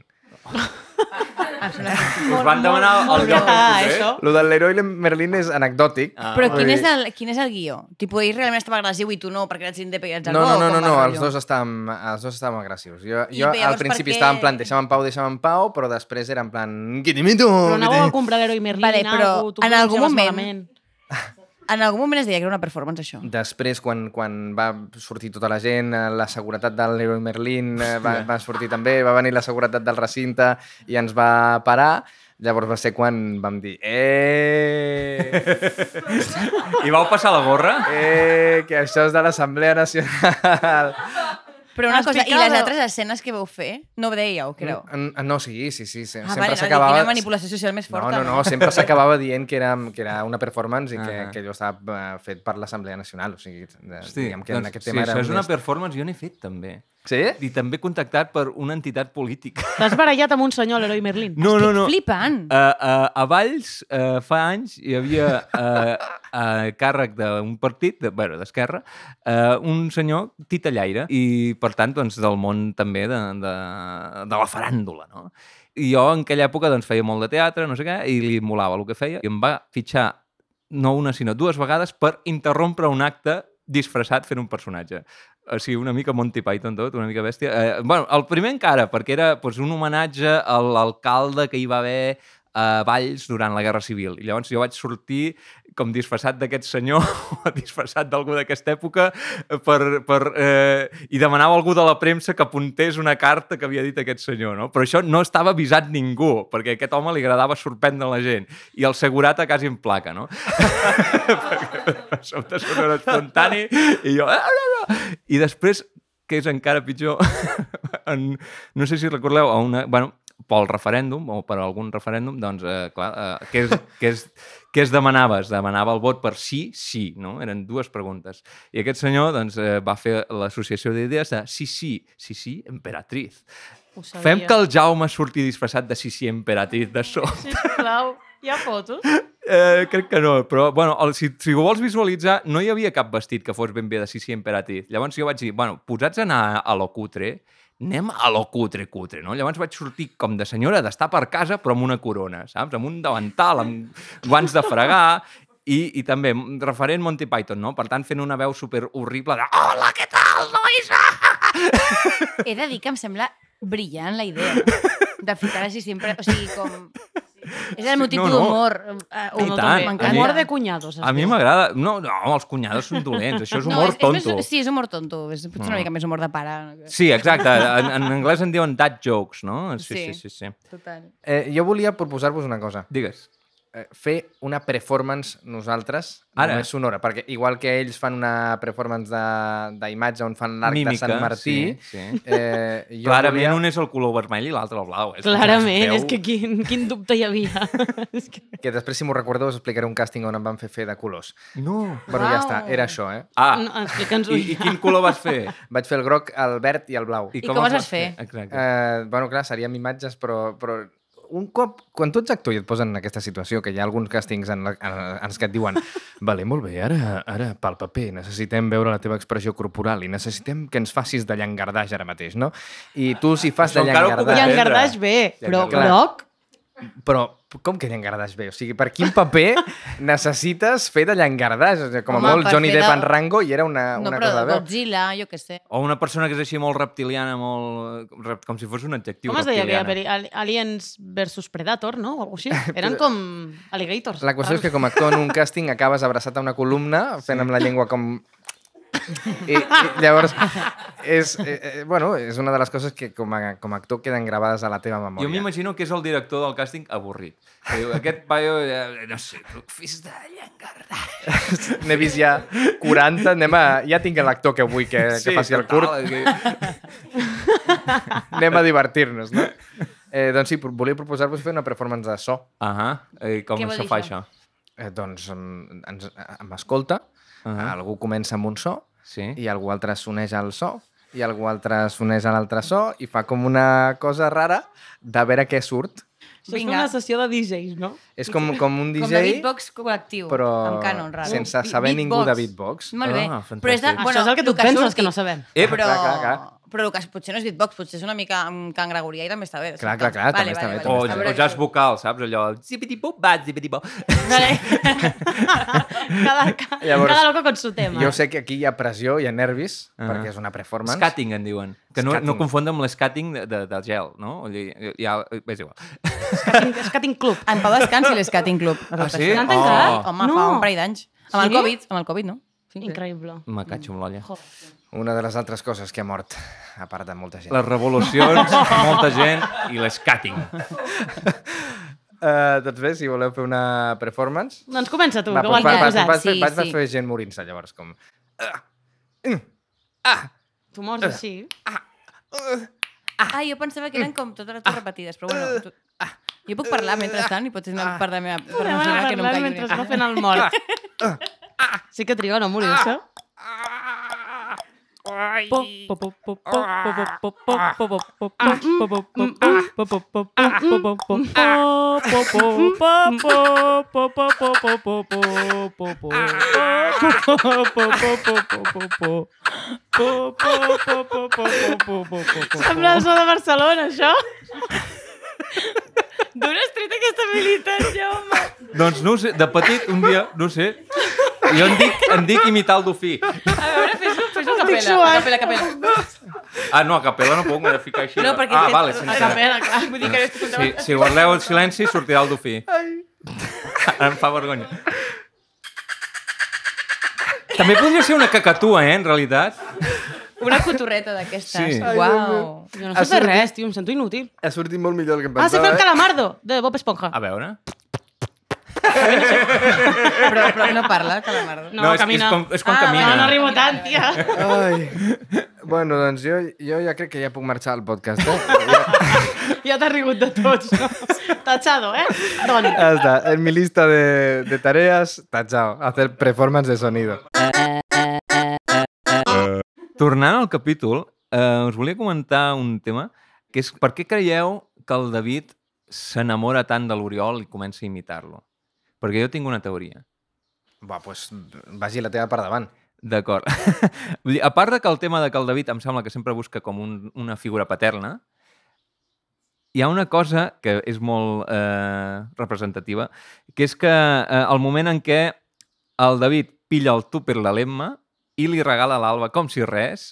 Em sembla que- Us van demanar el lloc Ah, on us, eh? això. Lo del l'heroi Merlin és anecdòtic, Ah, Però vull quin és, dir- el, quin és el guió? Tipo, ell realment estava agressiu i tu no, perquè ets independent i ets el No, bo, no, o no, com va no, no, el els rotllo? dos estàvem, els dos estàvem agressius. Jo, I jo bé, al llavors principi per què- estava en plan, deixa'm en pau, deixa'm en pau, però després era en plan, quinimi tu! Però anàveu a que comprar l'heroi Merlin, Vale, però algú, tu en que algun menjaves moment- malament. En algun moment es deia que era una performance, això. te-". Després, quan, quan va sortir tota la gent, eh, la seguretat del Leroy Merlin eh, va, va sortir també, va venir la seguretat del recinte i ens va parar. Llavors va ser quan vam dir, eh, I vau passar la gorra? eh, que això és de l'Assemblea Nacional. Però una Has cosa, i picado. les altres escenes que vau fer, no ho dèieu, creu? No, no, sí, sí, sí. sí. Ah, vale, no, dic, quina manipulació social més forta. No, no, no, sempre s'acabava (laughs) dient que era, que era una performance i que, Ah. que allò estava eh, fet per l'Assemblea Nacional. O sigui, de, Hosti, diguem que en doncs, aquest sí, tema això era... és una performance, jo n'he fet, també. Sí? I també contactat per una entitat política. T'has barallat amb un senyor, l'heroi Merlin. (laughs) No, no, no. Flipant. Uh, uh, a Valls, uh, fa anys, hi havia uh, a càrrec d'un partit, de, bueno, d'Esquerra, uh, un senyor titellaire i, per tant, doncs, del món també de, de, de la faràndula, no? I jo en aquella època doncs, feia molt de teatre, no sé què, i li molava el que feia. I em va fitxar no una, sinó dues vegades per interrompre un acte disfressat fent un personatge. O sigui, una mica Monty Python tot, una mica bèstia. Eh, bueno, el primer encara, perquè era doncs, un homenatge a l'alcalde que hi va haver a Valls durant la Guerra Civil. I llavors jo vaig sortir com disfressat d'aquest senyor (laughs) o disfressat d'algú d'aquesta època per, per, eh, i demanava a algú de la premsa que apuntés una carta que havia dit aquest senyor. No? Però això no estava avisat ningú, perquè a aquest home li agradava sorprendre la gent. I el segurata quasi en placa, no? de sobte sonora espontani i jo... "Ah, no, no". I després, que és encara pitjor, (laughs) en, no sé si recordeu, a una, bueno, pel referèndum o per algun referèndum, doncs, eh, clar, eh, què, és, què, és, què es demanava? Es demanava el vot per sí, sí, no? Eren dues preguntes. I aquest senyor doncs, eh, va fer l'associació d'idees de sí, sí, sí, sí, emperatriz. Ho sabia. Fem que el Jaume surti disfressat de sí, sí, emperatriz de so. Sisplau, hi ha fotos? Eh, crec que no, però bueno, el, si, si ho vols visualitzar, no hi havia cap vestit que fos ben bé de Sisi Imperatriz. Llavors jo vaig dir, bueno, posats a anar a lo cutre, anem a lo cutre, cutre, no? Llavors vaig sortir com de senyora d'estar per casa, però amb una corona, saps? Amb un davantal, amb guants de fregar, I, I també, mm, referent Monty Python, no? Per tant, fent una veu super horrible de Hola, què tal, nois? He de dir que em sembla brillant la idea de ficar així sempre, o sigui, com... És el meu Sí, no, tipus no. d'humor. eh, I humor tant, també, a m'encanta. mi- Humor de cunyados. es A mi diu. m'agrada... No, no, els cunyades són dolents, això és humor no, és, tonto. És, sí, és humor tonto. És potser una mica més humor de pare. Sí, exacte. En, en anglès en diuen dad jokes, no? Sí, sí, Sí. sí. sí, sí. Total. Eh, jo volia proposar-vos una cosa. Digues. Eh, fer una performance nosaltres, Ara. Ara. només sonora, perquè igual que ells fan una performance de- d'imatge on fan l'arc de Mímica, Sant Martí, sí, sí. Eh, jo Clarament volia un és el color vermell i l'altre el blau. És Clarament, es és que quin, quin dubte hi havia. (laughs) és que... que després, si m'ho recordo, us explicaré un càsting on em van fer fer de colors. No. Bueno, ja Uau. està, era això, eh? Ah, No, Explica'ns-ho. i, i quin color vas fer? Vaig fer el groc, el verd i el blau. (laughs) I com els es vas fer? Exacte. Eh, bueno, clar, serien imatges, però, però un cop, quan tu ets actor i et posen en aquesta situació, que hi ha alguns càstings en, la, en, en els que et diuen (laughs) vale, molt bé, ara, ara pel paper necessitem veure la teva expressió corporal i necessitem que ens facis de llangardaix ara mateix, no? I tu si fas Això de encara ho puc I llangardaix... en Gardaix bé, però Clar. groc... Però com que llangardaix bé? O sigui, per quin (laughs) paper necessites fer de llangardaix? O sigui, com a Home, molt per Johnny fer de- Depp en Rango i era una, No, una però cosa de veu. Godzilla, jo què sé. O una persona que és així molt reptiliana, molt... eh, rep- com si fos un adjectiu Com es deia aquella reptiliana. pel·li? Ali- Aliens versus Predator, no? O alguna cosa així. Eren com alligators. La qüestió és que com a actor en un càsting acabes abraçat a una columna fent amb la llengua com... I, i llavors, és, eh, eh, bueno, és una de les coses que com a, com a actor queden gravades a la teva memòria. Jo m'imagino que és el director del càsting avorrit. Que diu, Aquest paio, eh, no sé, tu fes de llangardaix. N'he vist ja 40, anem a... Ja tinc l'actor que vull Eh, que, que faci el total, curt. Que... Anem a divertir-nos, no? Eh, doncs sí, pro- volia proposar-vos fer una performance de so. Ahà, i com Què vol se dir fa això? això? Eh, doncs mm, ens, em escolta, Ah. algú comença amb un so Sí. i algú altre s'uneix al so i algú altre s'uneix a l'altre so i fa com una cosa rara de veure què surt. Això és Vinga. una sessió de DJs, no? És com, com Com un de DJ, beatbox col·lectiu, però amb canon, raro. sense Bi- saber ningú de beatbox. Molt bé. Ah, però és de, fantàstic. Això és el que tu el penses, surti. que no sabem. Eh, però, Clar, clar, clar. però el que potser no és beatbox, potser és una mica amb Can Gregorià i també està bé. Clar, clar, clar, també està O, bé, també A està o veure jazz què- vocal, saps? Allò... Zipitipop, va, zipitipop. Vale. (laughs) cada, ca- Llavors, cada loco con su tema. Jo sé que aquí hi ha pressió, hi ha nervis, Ah. perquè és una performance. Scatting en diuen. Que no, no Scatting. confondre amb l'escatting de, de, del gel, no? O sigui, Ja, eh, és igual. Skating, skating club. En Pau Descans i l'Scatting Club. Ah, sí? L'han tancat? Oh, Home, No. fa un parell d'anys. Amb el Sí? Covid, amb el Covid, no? Sí, sí. Increïble. Mm. me catxo amb l'olla. Una de les altres coses que ha mort, a part de molta gent. Les (laughs) revolucions, molta gent i l'escatting. Uh, doncs bé, si voleu fer una performance... Doncs comença tu, Va, que ho doncs has vas, vas, posat. vas, sí, fer- vas, sí. vas fer gent morint-se, llavors, com... Tu mors així. Ah, jo pensava que eren com totes Ah. les repetides, però bueno... Tu... Jo puc parlar mentrestant i potser és Ah. una part de la meva Podem persona anar que no em parlant caigui. mentre una va mica. fent el mort. Sí que triga a no Ah. morir-se. Sembla el so de Barcelona, això. D'on has tret aquesta militar, ja, home? Doncs no ho sé, de petit, un dia, no ho sé, jo en dic, en dic imitar el dofí. A veure, fes-ho, fes-ho a Estic capella, a suant. capella, a capella. Ah, no, a capella no puc, m'he de ficar així. No, perquè... ah, vale, a sense... capella, clar. Vull dir que no estic Sí, si guardeu el silenci, sortirà el dofí. Ara (laughs) em fa vergonya. També podria ser una cacatua, eh, en realitat. Una cotorreta d'aquestes. Sí. Sí. Ai, Uau. Jo no sé fer res, tio, em sento inútil. Ha sortit molt millor del que em Ah, sé fer el calamardo, de Bob Esponja. A veure... Però, però no parla, el calamardo. No, No, és- és camina. com- és quan ah, camina. No, no arribo tant, tia. (laughs) Ai. Bueno, doncs jo, jo ja crec que ja puc marxar al podcast, eh? (laughs) Ja, Ja t'has rigut de tots, no? Tachado, eh? Doni. ja està, en mi lista de, de tareas, tachao, hacer performance de sonido. Tornant al capítol, eh, us volia comentar un tema, que és per què creieu que el David s'enamora tant de l'Oriol i comença a imitar-lo? Perquè jo tinc una teoria. Va, pues, vagi la teva per davant. D'acord. (laughs) Vull dir, a part de que el tema de que el David em sembla que sempre busca com un, una figura paterna, hi ha una cosa que és molt eh, representativa, que és que eh, el moment en què El David pilla el tupper la l'Emma i li regala a l'Alba com si res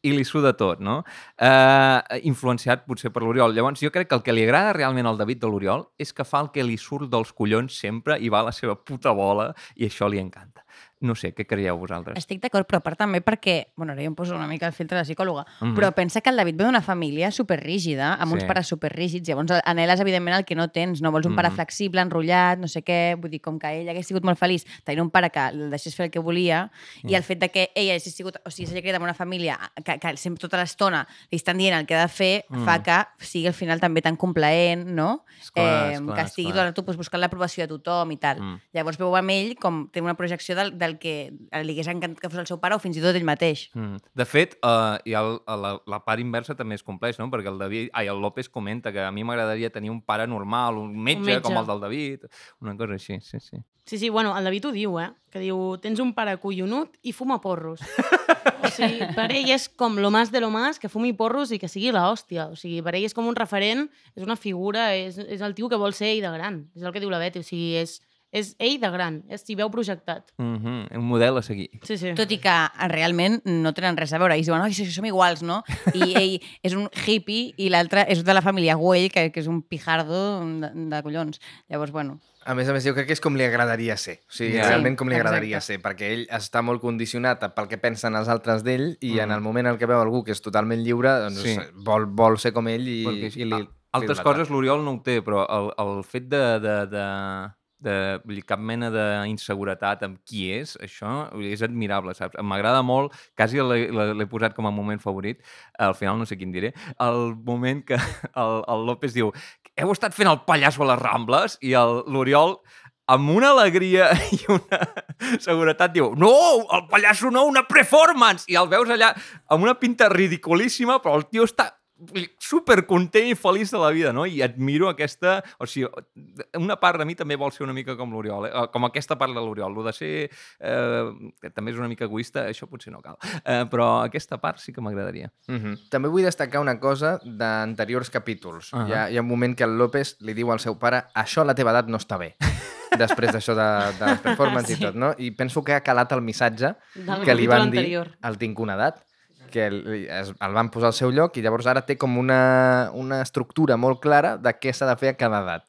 i li suda tot, no? Eh, influenciat potser per l'Oriol. Llavors, jo crec que el que li agrada realment al David de l'Oriol és que fa el que li surt dels collons sempre i va a la seva puta bola i això li encanta. No sé, què creieu vosaltres? Estic d'acord, però a part també perquè, bueno, ara jo em poso una mica el filtre de psicòloga, Mhm. però pensa que el David ve d'una família superrígida, amb uns Sí. pares superrígids, llavors anheles, evidentment, el que no tens, no vols un pare Mhm. flexible, enrotllat, no sé què, vull dir, com que ell hagués sigut molt feliç tenint un pare que el deixés fer el que volia, Mhm. i el fet de que ell hagi sigut, o sigui, s'hagi creat en una família que, que sempre tota l'estona li estan dient el que ha de fer, Mhm. fa que sigui al final també tan complaent, no? Esclar, esclar, que estigui esclar. tota tot el rato pues, buscant l'aprovació de tothom i tal. Mm. Llavors veu amb ell com té una projecció del, del que li hagués encantat que fos el seu pare o fins i tot ell mateix. Mm. De fet, uh, i el, la, la part inversa també es compleix, no? Perquè el David, ai, el López comenta que a mi m'agradaria tenir un pare normal, un metge, un metge. metge com el del David, una cosa així, sí, sí. Sí, sí, bueno, el David ho diu, eh? Que diu, tens un pare collonut i fuma porros. o sigui, per ell és com lo más de lo más, que fumi porros i que sigui la hòstia. O sigui, per ell és com un referent, és una figura, és, és el tio que vol ser ell de gran. És el que diu la Betty, o sigui, és, és ell de gran, és s'hi veu projectat. Mm -hmm. Un model a seguir. Sí, sí. Tot i que eh, realment no tenen res a veure. Ells diuen, "Ai, sí, sí, som (laughs) iguals, no? I ell és un hippie i l'altre és de la família Güell, que, que és un pijardo de, de collons. Llavors, bueno, A més a més, jo crec que és com li agradaria ser. O sigui, Ja. yeah. realment com li Sí, agradaria exacte. ser, perquè ell està molt condicionat pel que pensen els altres d'ell i mm. en el moment en què veu algú que és totalment lliure, doncs Sí. sí. vol, vol ser com ell i, Perquè és- i li... a- Altres li coses l'Oriol no ho té, però el, el fet de... de, de de vull dir, cap mena d'inseguretat amb qui és, això vull dir, és admirable, saps? M'agrada molt, quasi l'he- l'he l'he posat com a moment favorit, al final no sé quin diré, el moment que (laughs) el, el López diu heu estat fent el pallasso a les Rambles i el- l'Oriol amb una alegria (laughs) i una seguretat diu no, el pallasso no, una performance i el veus allà amb una pinta ridiculíssima però el tio està super content i feliç de la vida, no? I admiro aquesta... O sigui, una part de mi també vol ser una mica com l'Oriol, eh? com aquesta part de l'Oriol. Lo de ser... Eh, que també és una mica egoista, això potser no cal. Eh, però aquesta part sí que m'agradaria. Mm -hmm. També vull destacar una cosa d'anteriors capítols. Uh Ahà. -huh. hi, ha, hi ha un moment que el López li diu al seu pare això a la teva edat no està bé. després d'això de, de les performances sí. Sí. i tot, no? I penso que ha calat el missatge Del que li van capítol anterior. dir el tinc una edat que li- es, el van posar al seu lloc i llavors ara té com una, una estructura molt clara de què s'ha de fer a cada edat.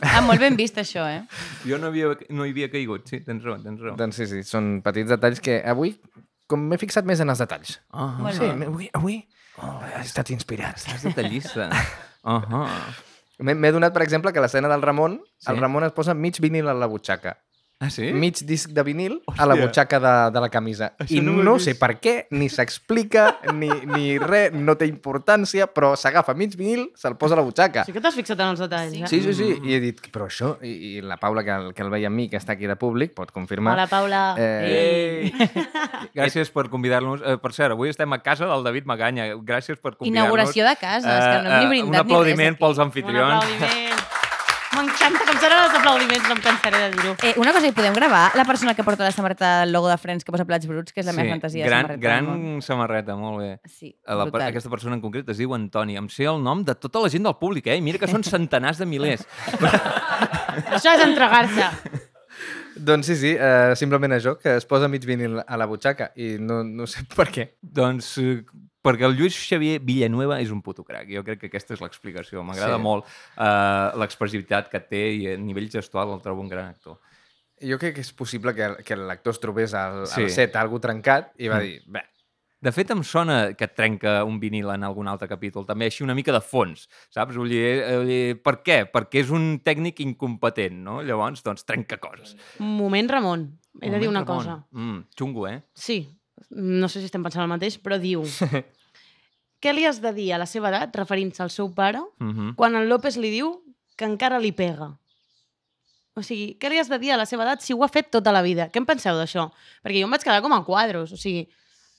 ah, molt ben vist això, eh? Jo no, havia, no hi havia caigut, sí, tens raó, tens raó. Doncs sí, sí, són petits detalls que avui, com m'he fixat més en els detalls. Ah, Molt Sí, bé. avui, avui oh, he estat inspirat. estàs detallista. Uh -huh. M'he m'he donat, per exemple, que l'escena del Ramon, sí? Sí? el Ramon es posa mig vinil a la butxaca. Ah, sí? Eh? Mig disc de vinil Hòstia. a la Hòstia. butxaca de, de la camisa. Això I no ho no, he no vist. sé per què, (laughs) ni s'explica, ni, ni res, no té importància, però s'agafa mig vinil, se'l posa a la butxaca. Sí que t'has fixat en els detalls, eh? Sí, sí, sí. Mm. I he dit, però això... I, i la Paula, que el, que el veia amb mi, que està aquí de públic, pot confirmar. Hola, Paula. Eh, Ei! (laughs) Gràcies per convidar-nos. Eh, per cert, avui estem a casa del David Maganya. Gràcies per convidar-nos. Inauguració de casa, és que no hem ni Eh, eh, brindat ni Un res aplaudiment aquí. pels Un anfitrions. (laughs) aplaudiment. M'encanta com seran els aplaudiments, no em cansaré de dir-ho. Eh, una cosa, i podem gravar la persona que porta la samarreta del logo de Friends que posa plats bruts, que és la meva fantasia de gran, samarreta del gran món. samarreta, molt bé. Sí, A La, per- brutal. aquesta persona en concret es diu Antoni. Em sé el nom de tota la gent del públic, eh? I mira que (laughs) són centenars de milers. Això és entregar-se. Doncs sí, sí, eh, simplement això, que es posa mig vinil a la butxaca i no, no sé (laughs) per què. doncs eh, perquè el Lluís Xavier Villanueva és un puto crac. Jo crec que aquesta és l'explicació. M'agrada Sí. molt eh, l'expressivitat que té i a nivell gestual el trobo un gran actor. Jo crec que és possible que, que l'actor es trobés al, sí. Sí. Mm. al set algú trencat i va dir, bé, De fet, em sona que et trenca un vinil en algun altre capítol, també així una mica de fons, saps? Vull dir, eh, vull dir, per què? Perquè és un tècnic incompetent, no? Llavors, doncs, trenca coses. Moment, Ramon. He de dir una Moment, Ramon. cosa. Mm, xungo, eh? Sí, no sé si estem pensant el mateix, però (laughs) diu... Què li has de dir a la seva edat, referint-se al seu pare, Mm -hmm. quan el López li diu que encara li pega? O sigui, què li has de dir a la seva edat si ho ha fet tota la vida? Què en penseu d'això? Perquè jo em vaig quedar com a quadros, o sigui...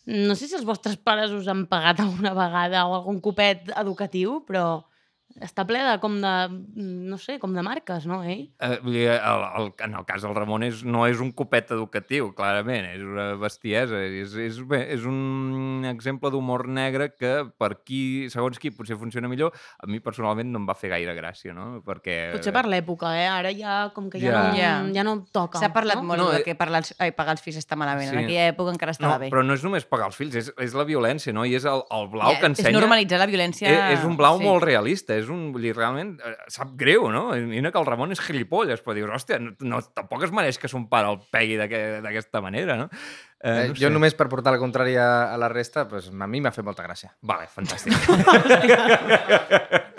No sé si els vostres pares us han pagat alguna vegada o algun copet educatiu, però Està ple de, com de, no sé, com de marques, no, ell? Eh, vull dir, el, el, en el cas del Ramon és, no és un copet educatiu, clarament, és una bestiesa. És, és, bé, és un exemple d'humor negre que per qui, segons qui, potser funciona millor, a mi personalment no em va fer gaire gràcia, no? Perquè... Potser per l'època, eh? Ara ja, com que ja, Ja. no, Ja. ja no toca. S'ha parlat no? molt No, no, eh, de que parlar, els- ai, pagar els fills està malament. sí. En aquella època encara No, estava bé. però no és només pagar els fills, és, és la violència, no? I és el, el blau Ja, que ensenya... Eh, És normalitzar la violència... És, és un blau sí. molt realista, és un, vull dir, realment eh, sap greu, no? I Mira que el Ramon és gilipolles, però dius, hòstia, no, no, tampoc es mereix que son pare el pegui d'aquest- d'aquesta manera, no? Eh, jo només per portar la contrària a la resta, pues, a mi m'ha fet molta gràcia. Vale, (laughs) fantàstic.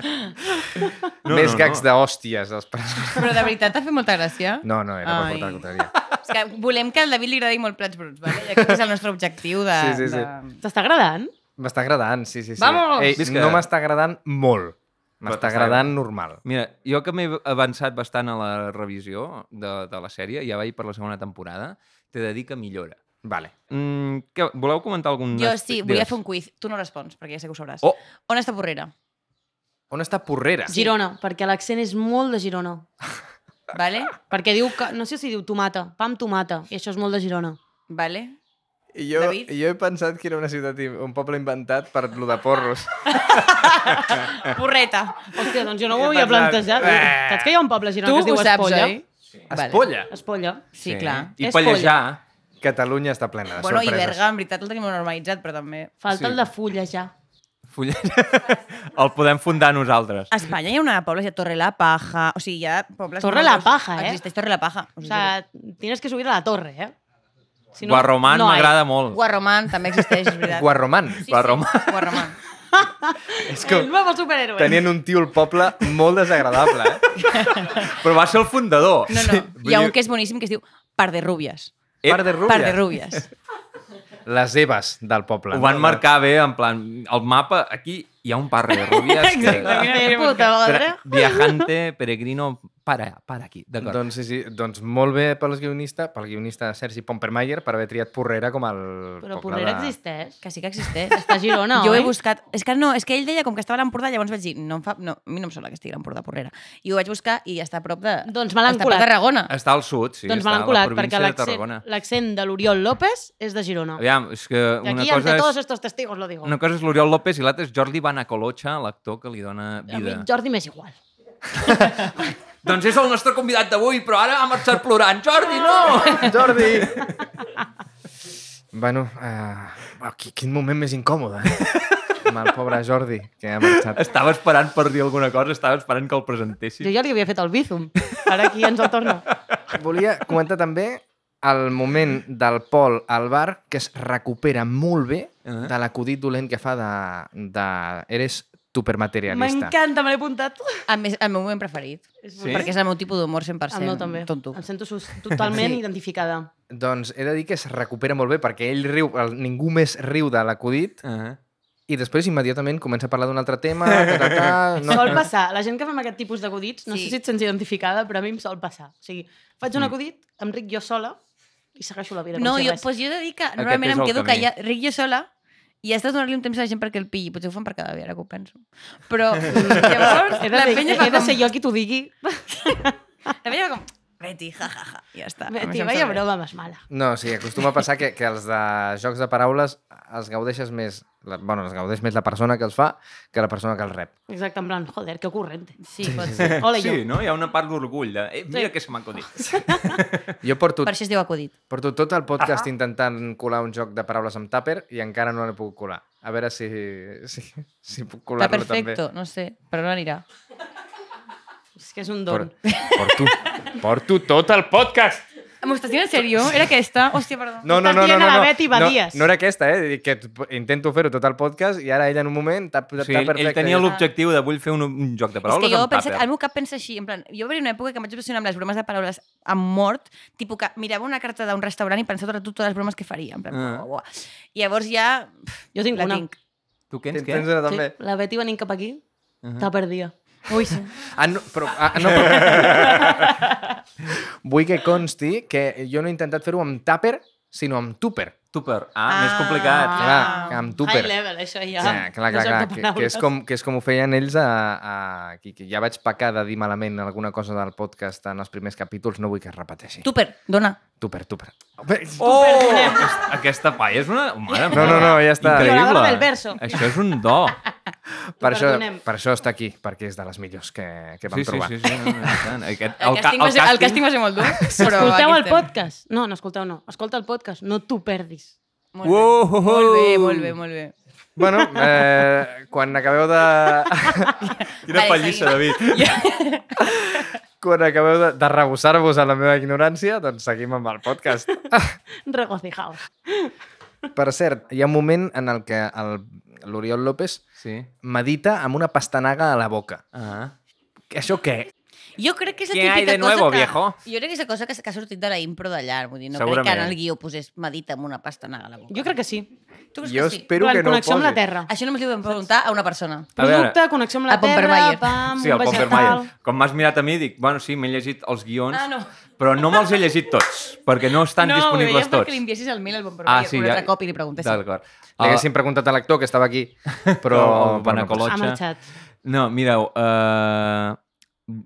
No, Més no, gags no. d'hòsties dels pares. Però de veritat t'ha fet molta gràcia? (laughs) No, no, era Ai. per portar la contrària. És que volem que al David li agradi molt plats bruts, vale? I aquest és el nostre objectiu de... Sí, sí, sí. de... T'està agradant? M'està agradant, sí, sí. sí. Vamos! Ei, Visca. no m'està agradant molt. t'està M'està agradant normal. Mira, jo que m'he avançat bastant a la revisió de, de la sèrie, ja vaig per la segona temporada, t'he de dir que millora. Vale. Mm, que, voleu comentar algun... Jo aspecte? sí, volia Digues. fer un quiz. Tu no respons, perquè ja sé que ho sabràs. Oh, On està Porrera? On està Porrera? Ah, Girona, perquè l'accent és molt de Girona. Vale? Perquè diu, que, no sé si diu tomata, pa amb tomata, i això és molt de Girona. Vale? Jo, David? jo he pensat que era una ciutat, i- un poble inventat per lo de (laughs) porros. Eh. Porreta. Hòstia, doncs jo no ho havia plantejat. eh. Saps que hi ha un poble a Girona Tu que es diu ho saps, Espolla? oi? Sí. Espolla. Espolla. Sí, Sí. clar. i És pallejar... Catalunya està plena de Bueno, i sorpreses. Berga, en veritat, el tenim molt normalitzat, però també... Falta Sí. el de fulla, ja. Fulla... (laughs) el podem fundar nosaltres. A Espanya hi ha una pobles, hi ha Torre la Paja, o sigui, hi ha pobles... Torre la Paja, eh? Existeix Torre la Paja. O sigui, tienes que subir a la torre, eh? Si Guarroman no hay. m'agrada molt. Guarromán també existeix, és veritat. Guarromán. Sí, sí, Guarromán. Guarromán. És El nuevo superhéroe. tenien un tio al poble molt desagradable, eh? Però va ser el fundador. No, (laughs) no. vull Hi ha dir- un que és boníssim que es diu Par de Rubias. Ep, Part de Rúbia. Par de Rubias. Les eves del poble. Ho van No? marcar bé, en plan, el mapa, aquí hi ha un par de rubies que... Eh, puta, madre. Tra- Viajante, peregrino, para, para aquí, d'acord. Doncs, sí, sí. doncs molt bé pel guionista, pel guionista Sergi Pompermayer, per haver triat Porrera com el... Però poble Porrera de- existeix. Que sí que existeix. Està a Girona, jo ho he oi? buscat... És que no, és que ell deia com que estava a l'Empordà, llavors vaig dir, no, em fa, no, a mi no em sembla que estigui a l'Empordà Porrera. I ho vaig buscar i està a prop de... Doncs me l'han està a prop colat. de Tarragona. Està al sud, sí. doncs me està l'han a la colat, província perquè de l'accent Tarragona. l'accent de l'Oriol López és de Girona. Aviam, és que I una aquí, cosa entre todos és, estos testigos, lo digo. una cosa és l'Oriol López i l'altra és Jordi Banacolocha, l'actor que li dona a mi vida. Jordi m'és igual. Doncs és el nostre convidat d'avui, però ara ha marxat plorant. Jordi, no! Jordi! (laughs) bueno, uh, qui, quin moment més incòmode, eh? Amb el pobre Jordi, que ha marxat. Estava esperant per dir alguna cosa, estava esperant que el presentessin. Jo ja li havia fet el bízum. Ara aquí ens el (laughs) torna. Volia comentar també el moment del Pol al bar que es recupera molt bé Ah. de l'acudit dolent que fa de... de eres supermaterialista. M'encanta, me l'he apuntat. A més, el meu moment preferit. Sí? Perquè és el meu tipus d'humor 100%. El meu també. Tonto. Em sento sus- totalment Sí. identificada. Doncs he de dir que es recupera molt bé perquè ell riu, el- ningú més riu de l'acudit Ah. i després immediatament comença a parlar d'un altre tema, ta, ta, (laughs) ta, No. Sol no, passar. La gent que fem aquest tipus d'acudits, no Sí. sé si et sents identificada, però a mi em sol passar. O sigui, faig Mm. un acudit, em ric jo sola i segueixo la vida. com No, si jo, res. pues jo he de dir que és normalment el em quedo camí. callada, ric jo sola, i has de donar-li un temps a la gent perquè el pilli. Potser ho fan per cada dia, ara que ho penso. Però mm, llavors, He de, la dir- penya he fa de com... ser jo qui t'ho digui. (laughs) La penya va com... Betty, ja, ja, ja. I ja està. Amb Betty, això em vaya sembla bé. broma més mala. no, sí, acostuma a passar que, que els de jocs de paraules els gaudeixes més, la, bueno, els gaudeix més la persona que els fa que la persona que els rep. Exacte, en plan, joder, que (laughs) corrente. Sí, pot ser. Hola, jo. Sí, no? Hi ha una part d'orgull. De... Eh, mira sí. que se m'ha acudit. Jo porto, Per això es diu acudit. porto tot el podcast intentant colar un joc de paraules amb tàper i encara no l'he pogut colar. A veure si, si, si puc Està colar-lo també. perfecto, no sé, però no anirà. És que és un don. Por- Porto, (laughs) porto tot el podcast! M'ho estàs dient en sèrio? Era aquesta? Hòstia, perdó. No, no, Estàs no, no, dient no, a la no. Betty Badies. no, no era aquesta, eh? Que et- intento fer-ho tot el podcast i ara ella en un moment t'ha O t'ha sigui, ell, perfecte. ell tenia l'objectiu de vull fer un, un joc de És paraules que jo amb pensa, tàper. al meu cap pensa així, en plan, jo va haver una època que em vaig obsessionar amb les bromes de paraules amb mort, tipus que mirava una carta d'un restaurant i pensava tot, totes les bromes que faria, en plan, Ah. buah, buah. I llavors ja... Jo tinc la una. tinc. Tu què Tens, ens què? tens una també. Mhm. Sí, la Betty venint cap aquí, uh -huh. t'ha perdia. Ui, sí. Ah, no, però, ah, no, però... Vull que consti que jo no he intentat fer-ho amb tàper sinó amb tupper. Tupper. Ah, ah, més complicat. Ah. Clar, amb tupper. High level, això ja. Ja, clar, clar, Dos clar, altres que, que, paraules. és com, que és com ho feien ells a... a que, que ja vaig pecar de dir malament alguna cosa del podcast en els primers capítols, no vull que es repeteixi. Tupper, dona. Tupper, tupper. Oh! Aquesta, aquesta paia és una... oh, Mare No, no, no, ja està. Increïble. Però agárrame el verso. Això és un do. Per això, perdonem. per això està aquí, perquè és de les millors que, (laughs) que vam Sí, sí, trobar. sí. sí no, no, i tant. Aquest, El, ca- càsting, va ser, el càsting va ser (laughs) molt dur, però Escolteu aquí el estem. podcast. No, no escolteu, no. Escolta el podcast, no t'ho perdis. Molt bé. Uohoho! molt bé, molt bé, molt bé. Bueno, eh, quan acabeu de... (laughs) Quina Vale, pallissa, seguim. David. quan acabeu de, de rebussar-vos a la meva ignorància, doncs seguim amb el podcast. Regocijaos. Per cert, hi ha un moment en el que el- l'Oriol López Sí. medita amb una pastanaga a la boca. Ah. Això què? Jo crec que és la ¿Qué hay típica de nuevo, cosa que... viejo? Jo crec que és la cosa que, s- que ha sortit de la impro d'allà. Vull dir, no crec que Segurament. ara el guió posés medita amb una pastanaga a la boca. Jo crec que sí. Tu creus Jo que sí? espero Però que en no ho connexió posi. amb la Terra. Això només li ho vam preguntar a una persona. A veure. Producte, connexió amb la A Terra, Pompermayer. pam, Sí, el vegetal. Pompermayer. Com m'has mirat a mi, dic, bueno, sí, m'he llegit els guions, Ah, no. però no me'ls he llegit tots, perquè no estan no, disponibles No, perquè tots. li enviessis el mail al bon Ah, ah, sí, un ja- altre cop i li preguntessis. D'acord. Li haguéssim preguntat a l'actor que estava aquí, però Ah. (laughs) però... el però no Panacolotxa... Ha marxat. No, mireu, uh,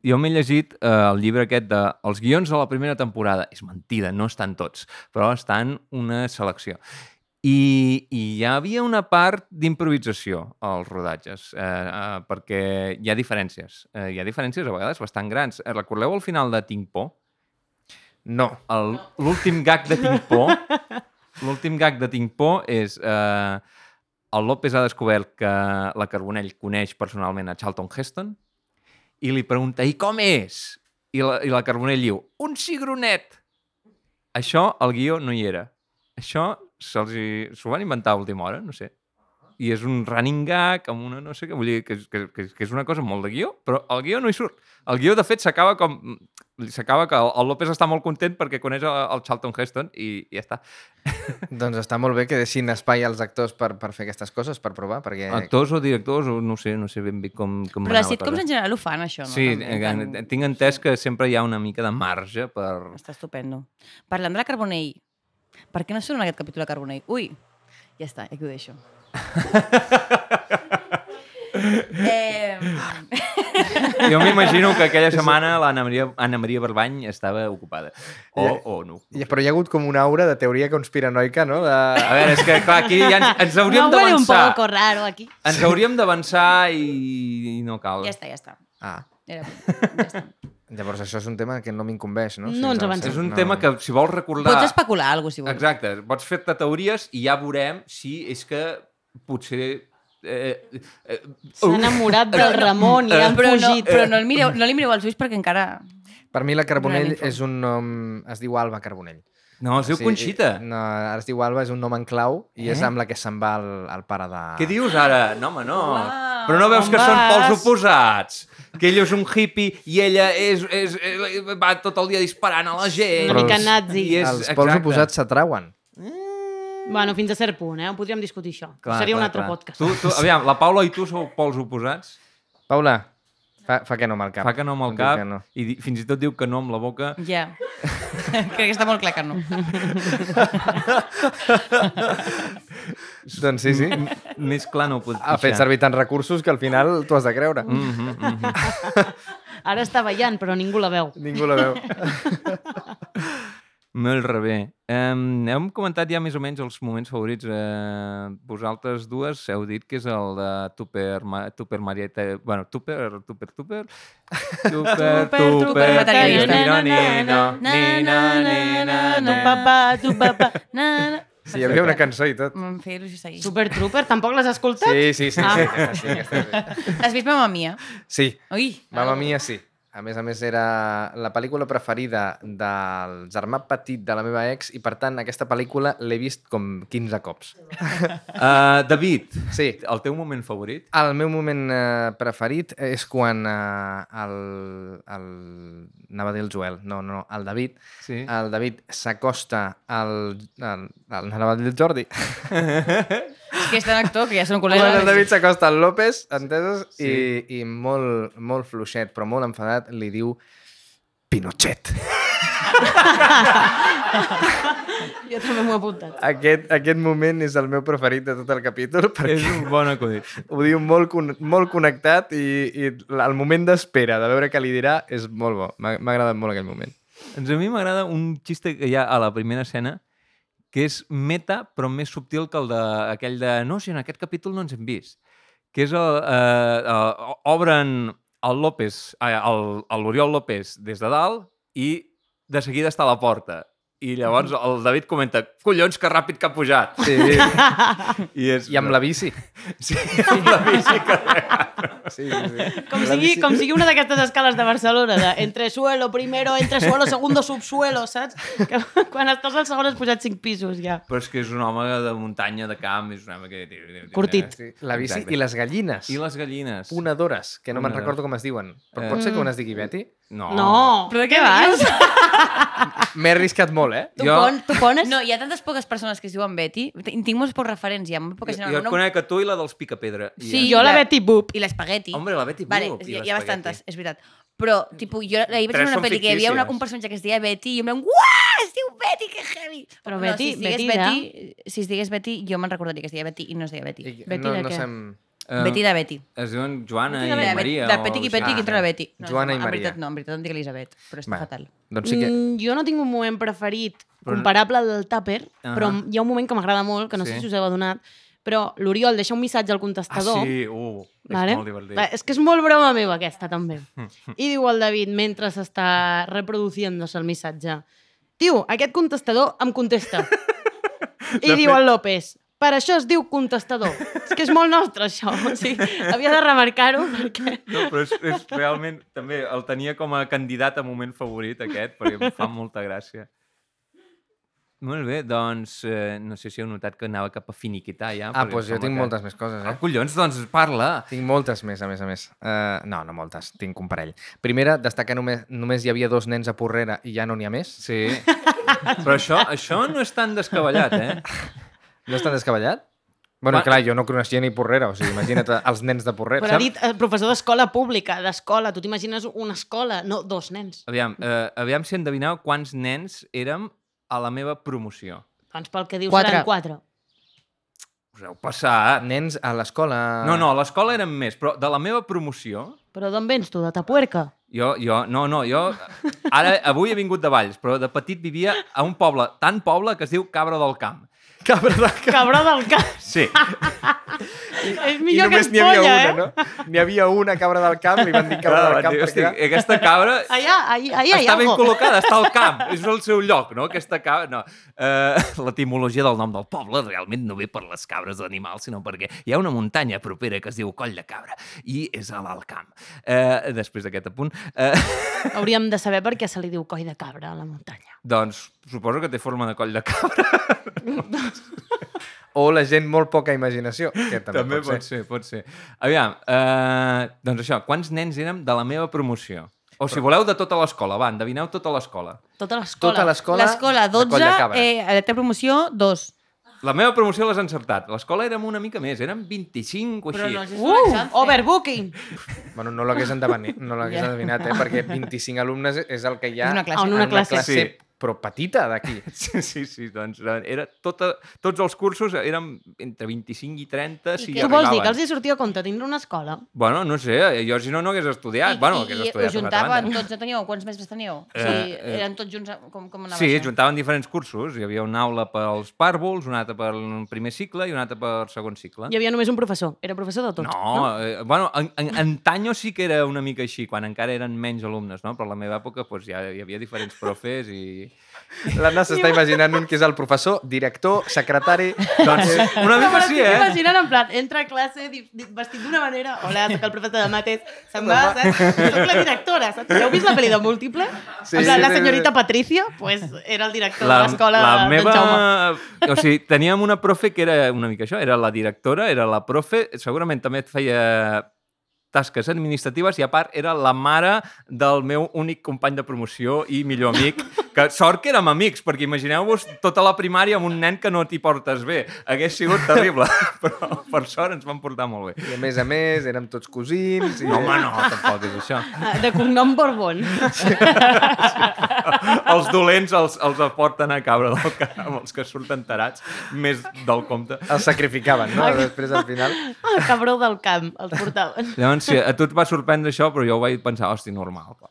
jo m'he llegit uh, el llibre aquest de Els guions de la primera temporada. És mentida, no estan tots, però estan una selecció. I, i hi havia una part d'improvisació als rodatges, eh, eh, perquè hi ha diferències. Eh, hi ha diferències a vegades bastant grans. Eh, Recordeu al final de Tinc por? passa. No. El- L'últim gag de Tinc por... L'últim gag de Tinc por és... Eh, el López ha descobert que la Carbonell coneix personalment a Charlton Heston i li pregunta, i com és? I la, i la Carbonell diu, un cigronet! Això al guió no hi era. Això se'ls hi- s'ho van inventar a última hora, no sé. I és un running gag amb una no sé què, vull dir que, és- que, que, que és una cosa molt de guió, però el guió no hi surt. El guió, de fet, s'acaba com... S'acaba que el, el López està molt content perquè coneix el, el Charlton Heston i, i ja està. Doncs està molt bé que deixin espai als actors per, per fer aquestes coses, per provar, perquè... Actors o directors, o no sé, no sé ben bé com, com Però les anava tot, sitcoms eh? en general ho fan, això, no? Sí, També, eh, fan- tinc entès que sempre hi ha una mica de marge per... Està estupendo. Parlant de la Carbonell, per què no surt en aquest capítol la Carbonell? Ui, ja està, aquí ho (laughs) deixo. eh, Jo m'imagino que aquella setmana l'Anna Maria, Anna Maria Barbany estava ocupada. O, Ja. o no. I- Però hi ha hagut com una aura de teoria conspiranoica, no? De... A veure, és que clar, aquí ja ens, ens No hauríem huele un poco d'avançar. raro aquí. Ens hauríem d'avançar i, i no cal. ja està, ja està. Ah, Era, ja està. llavors això és un tema que no m'incumbeix, no? No Si ens el- avancem. És un tema que, si vols recordar... Pots especular alguna cosa, Doncs- si vols. Exacte, pots fer-te teories i ja veurem si és que potser... Eh, eh, S'ha enamorat Eh, del Ramon i han Però, no, fugit. però no, el mireu, no li mireu els ulls perquè encara... Per mi la Carbonell Gran info. és un nom... Es diu Alba Carbonell. no, es diu Sí, Conxita. i- No, ara es diu Alba, és un nom en clau i Eh? és amb la que se'n va el, el pare de... Què dius ara? No, home, no. Uau, Però no veus on que són vas? pols oposats? Que ell és un hippie i ella és, és, és, va tot el dia disparant a la gent. Una mica els- nazi. I és- Els exacte. pols oposats s'atrauen. Bueno, fins a cert punt, eh? Podríem discutir això. Clar, Seria un clar, altre clar. podcast. Tu, tu, aviam, la Paula i tu sou pols oposats? Paula, fa, fa que no amb el cap. Fa que no amb el Diu cap que no. i di- fins i tot diu que no amb la boca. Ja. (laughs) Crec que està molt clar que no. Doncs sí, sí. M- Més clar no ho pot Ha fet servir tants recursos que al final t'ho has de creure. Mm -hmm, mm -hmm. Ara està ballant, però ningú la veu. Ningú la veu. Molt rebé. Um, hem comentat ja més o menys els moments favorits. Uh, vosaltres dues heu dit que és el de Tupper, Ma Tupper Marieta... Bueno, Tupper, Tupper, Tupper... Tupper, Tupper, materialista. Tino, Nino, Nino, Nino, Tu Nino. papà, tu papà. Na, na. Sí, hi havia una cançó i tot. Em feia il·lusió seguir. Super Trooper, tampoc l'has escoltat? Sí, sí, sí. Ah. Sí, aquesta sí, aquesta sí. Has vist Mamma Mia? sí. Ui. Mamma Mia sí. A més a més, era la pel·lícula preferida del germà petit de la meva ex i, per tant, aquesta pel·lícula l'he vist com 15 cops. Uh, David, Sí. el teu moment favorit? El meu moment eh, preferit és quan eh, el, el... Anava a dir el Joel, no, no, no, el David. Sí. El David s'acosta al... al, al... Anava a dir el Jordi. És que és tan actor que ja són Quan col·legues. el David s'acosta al López, entesos? I, i molt, molt fluixet, però molt enfadat, li diu Pinochet. Jo també m'ho he apuntat. Aquest, aquest moment és el meu preferit de tot el capítol perquè És un bon acudit. ho diu molt, con molt connectat i, i el moment d'espera de veure què li dirà és molt bo. M'ha m'ha agradat molt aquell moment. Doncs a mi m'agrada un xiste que hi ha a la primera escena que és meta, però més subtil que el de, aquell de... No, si en aquest capítol no ens hem vist. Que és el... Eh, eh, obren el López, eh, el- el l'Oriol López des de dalt i de seguida està a la porta. I llavors el David comenta collons, que ràpid que ha pujat. Sí, I, és, I amb la bici. Sí, amb la bici que... Sí, sí, sí. Com La sigui, bici- com sigui una d'aquestes escales de Barcelona, de entre suelo primero, entre suelo segundo, subsuelo, saps? Que (laughs) quan estàs al segon has pujat cinc pisos, ja. Però és que és un home de muntanya, de camp, és un home que... Curtit. Sí, la bici Exacte. i les gallines. I les gallines. Ponedores, que no me'n Ponedores. recordo com es diuen. Però Eh. pot ser que una es digui Betty? No. No! Però de què vas? M'he arriscat molt, eh? Tu, Jo- pon, tu pones... No, hi ha tantes poques persones que es diuen Betty. Tinc molts pocs referents, hi ha molt poques. Jo, jo et conec a tu i la dels Picapedra. I Sí, jo la la- Betty Boop. I l'espagueti. Hombre, la Betty Vale, Boop i hi, hi ha l'espagueti. bastantes, és veritat. Però, tipus, jo ahir vaig Tres veure una són pel·li que hi havia una, fictícies. un personatge que es deia Betty i jo em vam... Uah! Es diu Betty, que heavy! Però no, Betty- si es digués Betty Betty, si es digués Betty, jo me'n recordaria que es deia Betty i no es deia Betty. I- Betty no, de no què? Sem... Eh, Betty de Betty. Es diuen Joana De, i Bet- Maria. de o Petit i algo així. Petit, entra la Betty. Joana i en Maria. veritat no, en veritat em dic Elisabet, però està Va, fatal. Doncs sí que... Mm, jo no tinc un moment preferit Però- comparable al del tàper, Ah. però hi ha un moment que m'agrada molt, que no Sí. sé si us heu adonat, però l'Oriol deixa un missatge Ah, al contestador. sí? Uh, és Vale? molt divertit. Va, És que és molt broma meva aquesta, (laughs) també. I diu el David, mentre s'està reproduciéndose el missatge, tio, aquest contestador em (laughs) contesta. I De diu fet- el López, per això es diu contestador. És que és molt nostre, això. (laughs) O sigui, havia de remarcar-ho perquè... No, però és, és realment... També el tenia com a candidat a moment favorit, aquest, perquè em fa molta gràcia. Molt bé, doncs eh, no sé si heu notat que anava cap a finiquitar ja. Ah, perquè em doncs jo sembla tinc que- moltes més coses, Ah, eh? collons, doncs parla. Tinc moltes més, a més a més. Uh, no, no moltes, tinc un parell. Primera, destacar només, només hi havia dos nens a Porrera i ja no n'hi ha més. Sí. Però això, això no és tan descabellat, eh? No està descabellat? Bueno, Va- clar, jo no coneixia ni Porrera, o sigui, imagina't els nens de Porrera. Però ha dit eh, professor d'escola pública, d'escola. Tu t'imagines una escola, no dos nens. Aviam, Mm. eh, aviam si endevineu quants nens érem a la meva promoció. Doncs pel que dius Quatre. seran quatre. Us heu passat. Nens a l'escola... No, no, a l'escola eren més, però de la meva promoció... Però d'on vens tu, de Tapuerca? Jo, jo, no, no, jo... (laughs) Ara, avui he vingut de Valls, però de petit vivia a un poble, tan poble que es diu Cabra del Camp. Cabra de... Cabró del cas. Sí. És (laughs) I millor que només n'hi Espolla, havia una, eh? no? N'hi havia una cabra del camp, li van dir cabra del camp. Ah, Hosti, perquè era- aquesta cabra Allà, allà, allà hi ha està ben algo. col·locada, està al camp, és el seu lloc, no? Aquesta cabra... No. Uh, L'etimologia del nom del poble realment no ve per les cabres d'animals, sinó perquè hi ha una muntanya propera que es diu Coll de Cabra i és a l'alt camp. uh, després d'aquest apunt, uh, Hauríem de saber per què se li diu coi de cabra a la muntanya. (laughs) doncs suposo que té forma de coll de cabra. O la gent molt poca imaginació, que també, També pot ser. ser, pot ser. Aviam, uh, doncs això, quants nens érem de la meva promoció? O si voleu, de tota l'escola, va, endevineu tota l'escola. Tota l'escola. Tota l'escola... L'escola, de coll 12, de cabra. eh, a la teva promoció, 2. La meva promoció l'has encertat. L'escola érem una mica més, érem 25 o així. Però no, això és una Uh, chance. overbooking! Bueno, no l'hagués endevinat, no l'hagués Ja. endevinat, eh? perquè 25 alumnes és el que hi ha És una classe. En una en classe. classe Sí. però petita d'aquí. Sí, sí, sí, doncs eh, era tota, tots els cursos érem entre 25 i 30, si I hi què- Tu vols dir arribaven. que els hi sortia a compte tindre una escola? Bueno, no sé, eh, jo si no, no hagués estudiat. I, bueno, I, hagués i estudiat us a una altra juntaven banda. tots, ja teníeu? Quants mestres teníeu? o sigui, Eh, eh. eren tots junts, com, com eh? anava Sí, això? juntaven diferents cursos. Hi havia una aula pels pàrvols, una altra per primer cicle i una altra per segon cicle. Hi havia només un professor. Era professor de tots. Ah. No, eh, bueno, en, en, antanyo sí que era una mica així, quan encara eren menys alumnes, no? Però a la meva època doncs, ja hi havia diferents profes i... L'Anna s'està imaginant un que és el professor, director, secretari... Doncs una mica sí, eh? Imaginant, en plan, entra a classe di- di- vestit d'una manera, hola, soc el professor de mates, se'n va, saps? Soc la directora, saps? Heu vist la pel·li de Múltiple? Sí, Sí, en plan, sí, la sí, senyorita Patricia, pues, era el director de l'escola la d'en meva... (laughs) Jaume. O sigui, teníem una profe que era una mica això, era la directora, era la profe, segurament també feia tasques administratives i a part era la mare del meu únic company de promoció i millor amic, que sort que érem amics, perquè imagineu-vos tota la primària amb un nen que no t'hi portes bé. Hagués sigut terrible, (laughs) però per sort ens van portar molt bé. I a més a més, érem tots cosins... I... (laughs) No, home, no, tampoc és això. Ah, De cognom Borbón. els dolents els, els aporten a cabre del camp, els que surten tarats, més del compte. Els sacrificaven, no? Després, al final... El Ah, cabró del camp, els portaven. Llavors, sí, a tu et va sorprendre això, però jo ho vaig pensar, hosti, normal. clar.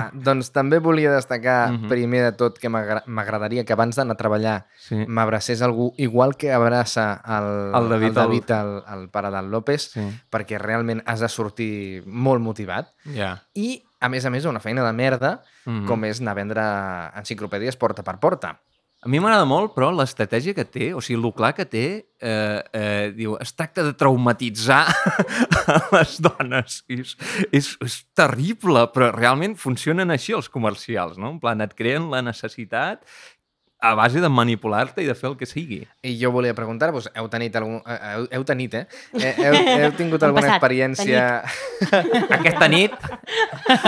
Ah, doncs també volia destacar, primer de tot, que m'agra- m'agradaria que abans d'anar a treballar Sí. m'abracés algú, igual que abraça el, El David, el, David el, el pare del López, Sí. perquè realment has de sortir molt motivat. Ja. I, a més a més, una feina de merda, Mhm. com és anar a vendre enciclopèdies porta per porta. A mi m'agrada molt, però l'estratègia que té, o sigui, el clar que té, eh, eh, diu, es tracta de traumatitzar (laughs) a les dones. I És, és, és terrible, però realment funcionen així els comercials, no? En plan, et creen la necessitat a base de manipular-te i de fer el que sigui. I jo volia preguntar-vos, heu tenit algun... eh, Heu, heu tenit, eh? Eh, (laughs) Heu, heu tingut Han alguna passat, experiència... Aquesta nit... (laughs)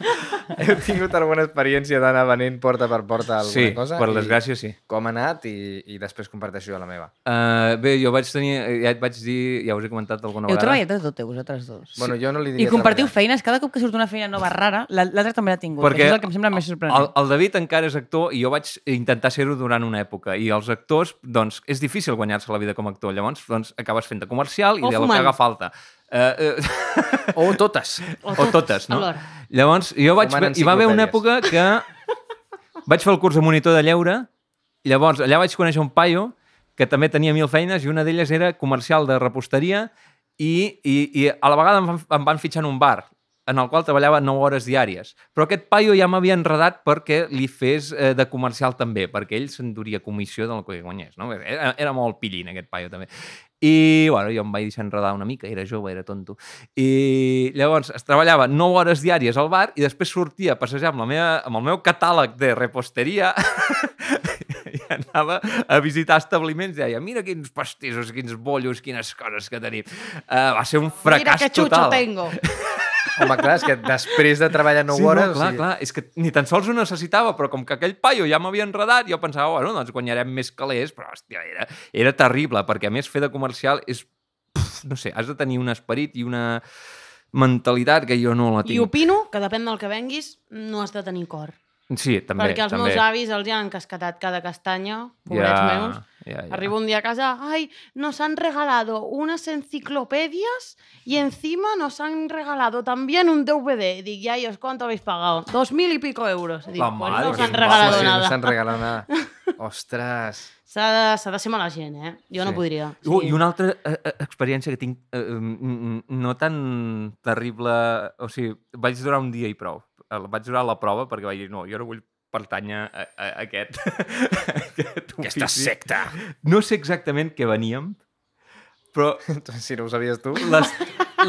Heu tingut alguna experiència d'anar venent porta per porta alguna sí, cosa? per I desgràcia, sí. Com ha anat i, i després comparteixo la meva. Uh, bé, jo vaig tenir... Ja et vaig dir... Ja us he comentat alguna Heu vegada. treballat de tot, eh, vosaltres dos. Bueno, jo no li I diria compartiu treballar. feines. Cada cop que surt una feina nova rara, la- l'altra també l'ha tingut. Perquè Perquè és el que em sembla més El, sorprenent. el David encara és actor i jo vaig intentar ser-ho durant una època. I els actors, doncs, és difícil guanyar-se la vida com a actor. Llavors, doncs, acabes fent de comercial i O de la que fumant. haga falta. Eh, eh, O totes. o, totes, no? alhora. Llavors, jo vaig... Fumant Hi va haver una època enciclopèdies. que (laughs) vaig fer el curs de monitor de lleure, llavors allà vaig conèixer un paio que també tenia mil feines i una d'elles era comercial de reposteria i, i, i a la vegada em van, em van fitxar en un bar en el qual treballava 9 hores diàries. Però aquest paio ja m'havia enredat perquè li fes eh, de comercial també, perquè ell s'enduria comissió del que guanyés. No? Era, era molt pillin, aquest paio, també. I, bueno, jo em vaig deixar enredar una mica, era jove, era tonto. I llavors es treballava 9 hores diàries al bar i després sortia a passejar amb, la meva, amb el meu catàleg de reposteria (laughs) i anava a visitar establiments i deia, mira quins pastissos, quins bollos, quines coses que tenim. Uh, va ser un fracàs Mira que xucho total. tengo. Home, clar, és que després de treballar 9 sí, hores... No, clar, o sigui, clar, és que ni tan sols ho necessitava, però com que aquell paio ja m'havia enredat, jo pensava, bueno, doncs guanyarem més calés, però, hòstia, era, era terrible, perquè a més fer de comercial és... Pff, no sé, has de tenir un esperit i una mentalitat que jo no la I tinc. opino que depèn del que venguis, no has de tenir cor. Sí, també, perquè els també. meus avis els han cascatat cada castanya, pobrets Ja, meus. ja, ja. Arribo un día a casa, ay, nos han regalado unas enciclopedias y encima nos han regalado también un DVD. Y dic, ya, ¿y os cuánto habéis pagado? Dos mil y pico euros. I Dic, La pues mare no os que han us regalado passa, sí, No nada. s'han regalat nada. Ostres. S'ha de, s'ha de ser mala gent, eh? Jo no Sí. podria. Sí. I (laughs) una altra eh, eh, experiència que tinc eh, mm, mm, no tan terrible... O sigui, vaig durar un dia i prou. El- Vaig durar la prova perquè vaig dir, no, jo no vull pertànyer a, a, a aquest, (laughs) a aquest Aquesta ofici. secta. No sé exactament què veníem, però Si no ho sabies tu... les,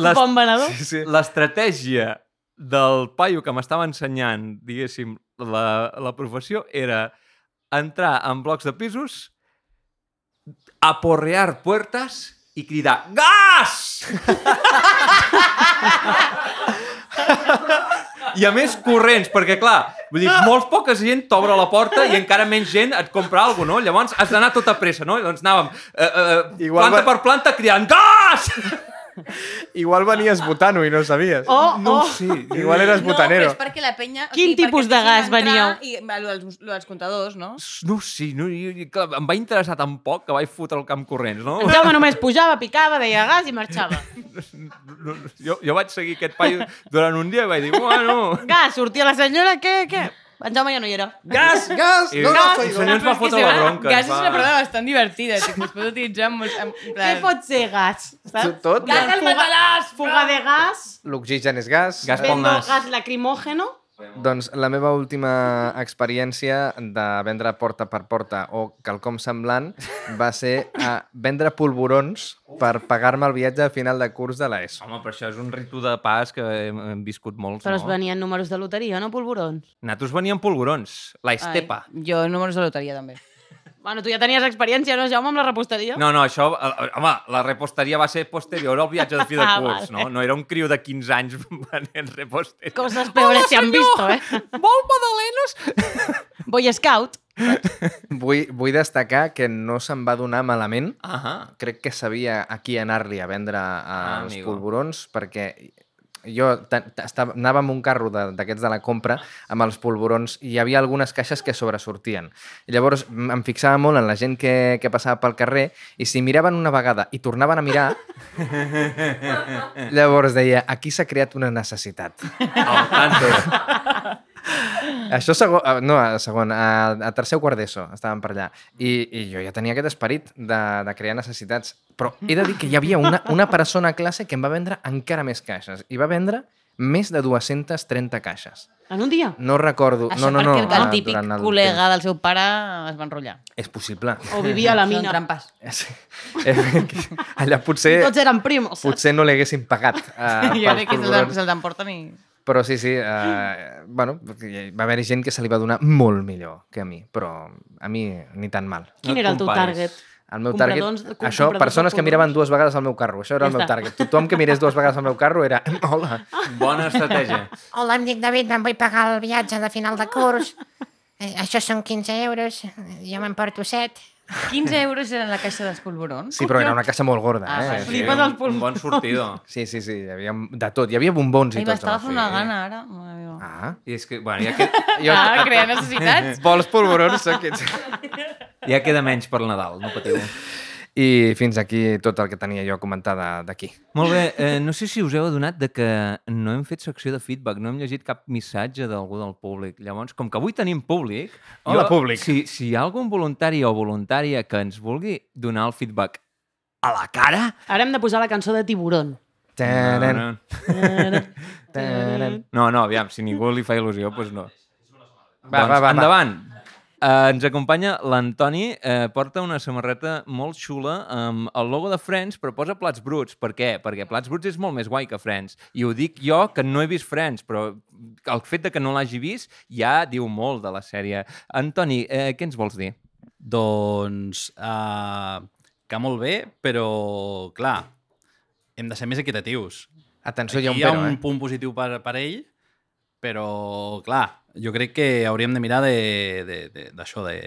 les, Bon (laughs) venedor? Sí, sí. l'estratègia del paio que m'estava ensenyant, diguéssim, la, la professió era entrar en blocs de pisos, aporrear puertas i cridar GAS! I a més, corrents, perquè clar, vull dir, molt poca gent t'obre la porta i encara menys gent et compra alguna cosa, no? Llavors has d'anar tota pressa, no? I doncs anàvem eh, eh, Igual planta va- per planta cridant GAS! Igual venies botant-ho i no ho sabies. O, No o, ho sé. Igual eres No, però botanero. és perquè la penya... o Quin sigui, perquè tipus et de deixin gas entrar I, va, lo dels, lo dels comptadors, no? No, sí, no, jo, jo, clar, em va interessar tan poc que vaig fotre el camp corrents, no? el Jaume només pujava, picava, deia gas i (laughs) marxava. no, no jo, jo vaig seguir aquest paio durant un dia i vaig dir, bueno... Gas, sortia la senyora, què, què? En Jaume ja no hi era. Gas! Gas! I, No, no, el soy senyor ens va fotre la bronca. Gas és va- una paraula bastant divertida, que es pot utilitzar amb molts... Amb, en Què plan- pot ser gas? Saps? Tot? Gas al Fuga- matalàs! Fuga de gas, L'oxigen és gas. Gas pel vendo Eh, nas. gas lacrimógeno. Doncs la meva última experiència de vendre porta per porta o quelcom semblant va ser a vendre polvorons per pagar-me el viatge al final de curs de l'ESO. Home, però això és un ritu de pas que hem, hem viscut molts, Però es no? venien números de loteria, no polvorons? Nosaltres veníem polvorons, la Ai, estepa. Jo, números de loteria, també. Bueno, tu ja tenies experiència, no, Jaume, amb la reposteria? No, no, això... eh, Home, la reposteria va ser posterior al viatge (laughs) de fi de Ah, curs, no? No era un criu de 15 anys (laughs) venent reposteria. Coses peores se han vist, eh? Vol magdalenes? Boy Scout. Vull, vull destacar que no se'm va donar malament. Ahà. Crec que sabia a qui anar-li a vendre eh, els amigo. polvorons perquè jo ta- ta- estava, anava amb un carro de- d'aquests de, la compra amb els polvorons i hi havia algunes caixes que sobresortien. I llavors m- em fixava molt en la gent que, que passava pel carrer i si miraven una vegada i tornaven a mirar, llavors deia, aquí s'ha creat una necessitat. Al Oh, tanto. Això segon, eh, no, a segon, a, a tercer o quart d'ESO estàvem per allà. I, I jo ja tenia aquest esperit de, de crear necessitats. Però he de dir que hi havia una, una persona a classe que em va vendre encara més caixes. I va vendre més de 230 caixes. En un dia? No recordo... Això no, no, no, perquè el, ah, el típic durant el col·lega del seu pare es va enrotllar. temps. És possible. O vivia a la Són mina? trampes. Sí. Eh, Allà potser, Tots eren primos. potser no li haguessin pagat. (laughs) Uh, jo crec que se'ls se emporten i... Però sí, sí, eh, bueno, va haver gent que se li va donar molt millor que a mi, però a mi ni tan mal. Quin No era el teu comparis. target? El meu target, Compradors- com- això, compradors de persones que polvons. miraven dues vegades al meu carro, això era Ja el meu està. target. Tothom que mirés dues vegades al meu carro (laughs) era, hola, Ah, Bona estratègia. Hola, em dic David, em vull pagar el viatge de final de curs. Eh, Això són 15 euros, jo me'n porto 7. 15 euros eren la caixa dels polvorons? sí, però era una caixa molt gorda, Ah, eh? sí. Flipes un- els pulmons. Un bon sortido. Sí, sí, sí, hi havia de tot, hi havia bombons i Ai, tot. m'estava home, fent sí. una gana ara. mare meva. Ah, I és que, bueno, ja, que, jo... Ah, crear necessitats. (laughs) Vols polvorons, són aquests. (laughs) ja queda menys per Nadal, no patiu. I fins aquí tot el que tenia jo a comentar de- d'aquí. Molt bé, eh, no sé si us heu adonat de que no hem fet secció de feedback, no hem llegit cap missatge d'algú del públic. Llavors, com que avui tenim públic... Hola, públic. Si, si hi ha algun voluntari o voluntària que ens vulgui donar el feedback a la cara... Ara hem de posar la cançó de Tiburón. No, Taran, no, taran. no, no aviam, si ningú li fa il·lusió, doncs no. Doncs Va, va, va, va. endavant. Uh, ens acompanya l'Antoni, eh, porta una samarreta molt xula amb el logo de Friends, però posa Plats Bruts. Per què? Perquè Plats Bruts és molt més guai que Friends. I ho dic jo, que no he vist Friends, però el fet de que no l'hagi vist ja diu molt de la sèrie. Antoni, eh, què ens vols dir? Doncs uh, que molt bé, però clar, hem de ser més equitatius. Atenció, hi ha Aquí un hi ha però, un eh? punt positiu per, per ell, però clar, jo crec que hauríem de mirar d'això, de, de, d'això, de,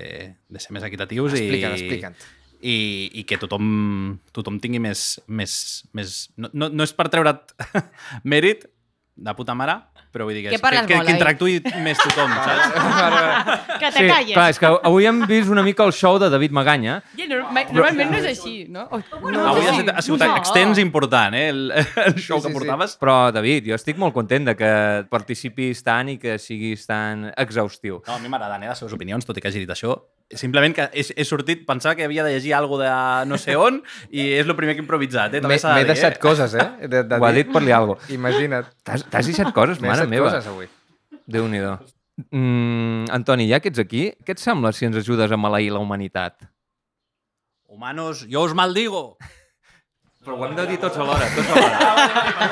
de ser més equitatius Explica't, i, (laughs) explica't. i, i que tothom, tothom tingui més... més, més no, no, no és per treure't (laughs) mèrit, de puta mare, però vull dir que, Que és- que, parles que, molt, que oi? interactuï més tothom, (laughs) saps? Que te calles. clar, és que avui hem vist una mica el show de David Maganya. Ja, no, ma- normalment no és així, no? Oh, no, Avui ha, sigut- ha sigut extens i important, eh, el, el show sí, que sí. portaves. Però, David, jo estic molt content de que participis tant i que siguis tan exhaustiu. No, a mi m'agraden eh, les seves opinions, tot i que hagi dit això. Simplement que he, he sortit, pensava que havia de llegir alguna de no sé on i és el primer que he improvisat, M'he eh? També s'ha de m'he dir, deixat eh? coses, eh? De, de Ho ha dit per li alguna cosa. Imagina't. T'has t'has deixat coses, M'he mare deixat meva. coses avui. Déu-n'hi-do. Mm, Antoni, ja que ets aquí, què et sembla si ens ajudes a maleir la humanitat? Humanos, jo us maldigo. Però ho hem de dir tots alhora, tots alhora.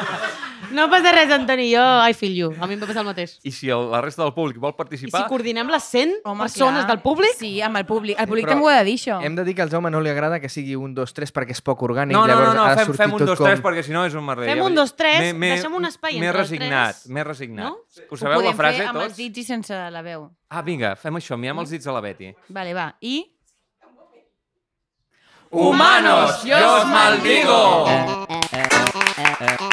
No passa res, Antoni, jo I feel you. A mi em va passar el mateix. I si el, la resta del públic vol I participar... si coordinem les 100 persones del públic? Sí, amb el públic. El públic però també ho ha de dir, això. Hem de dir que al Jaume no li agrada que sigui un, dos, tres perquè és poc orgànic. No, no, no, llavors no, ha de fem, sortir fem un, tot dos, com... tres, perquè si no és un merder. Fem ja un, veig. dos, tres, M'he- m'he- deixem un espai M'he entre els resignat, tres. m'he resignat. No? Ho sabeu la podem frase, fer amb els tots? dits i sense la veu. Ah, vinga, fem això, mirem els dits a la Betty. Vale, va. I... Humanos, yo os maldigo! Eh, eh, eh, eh,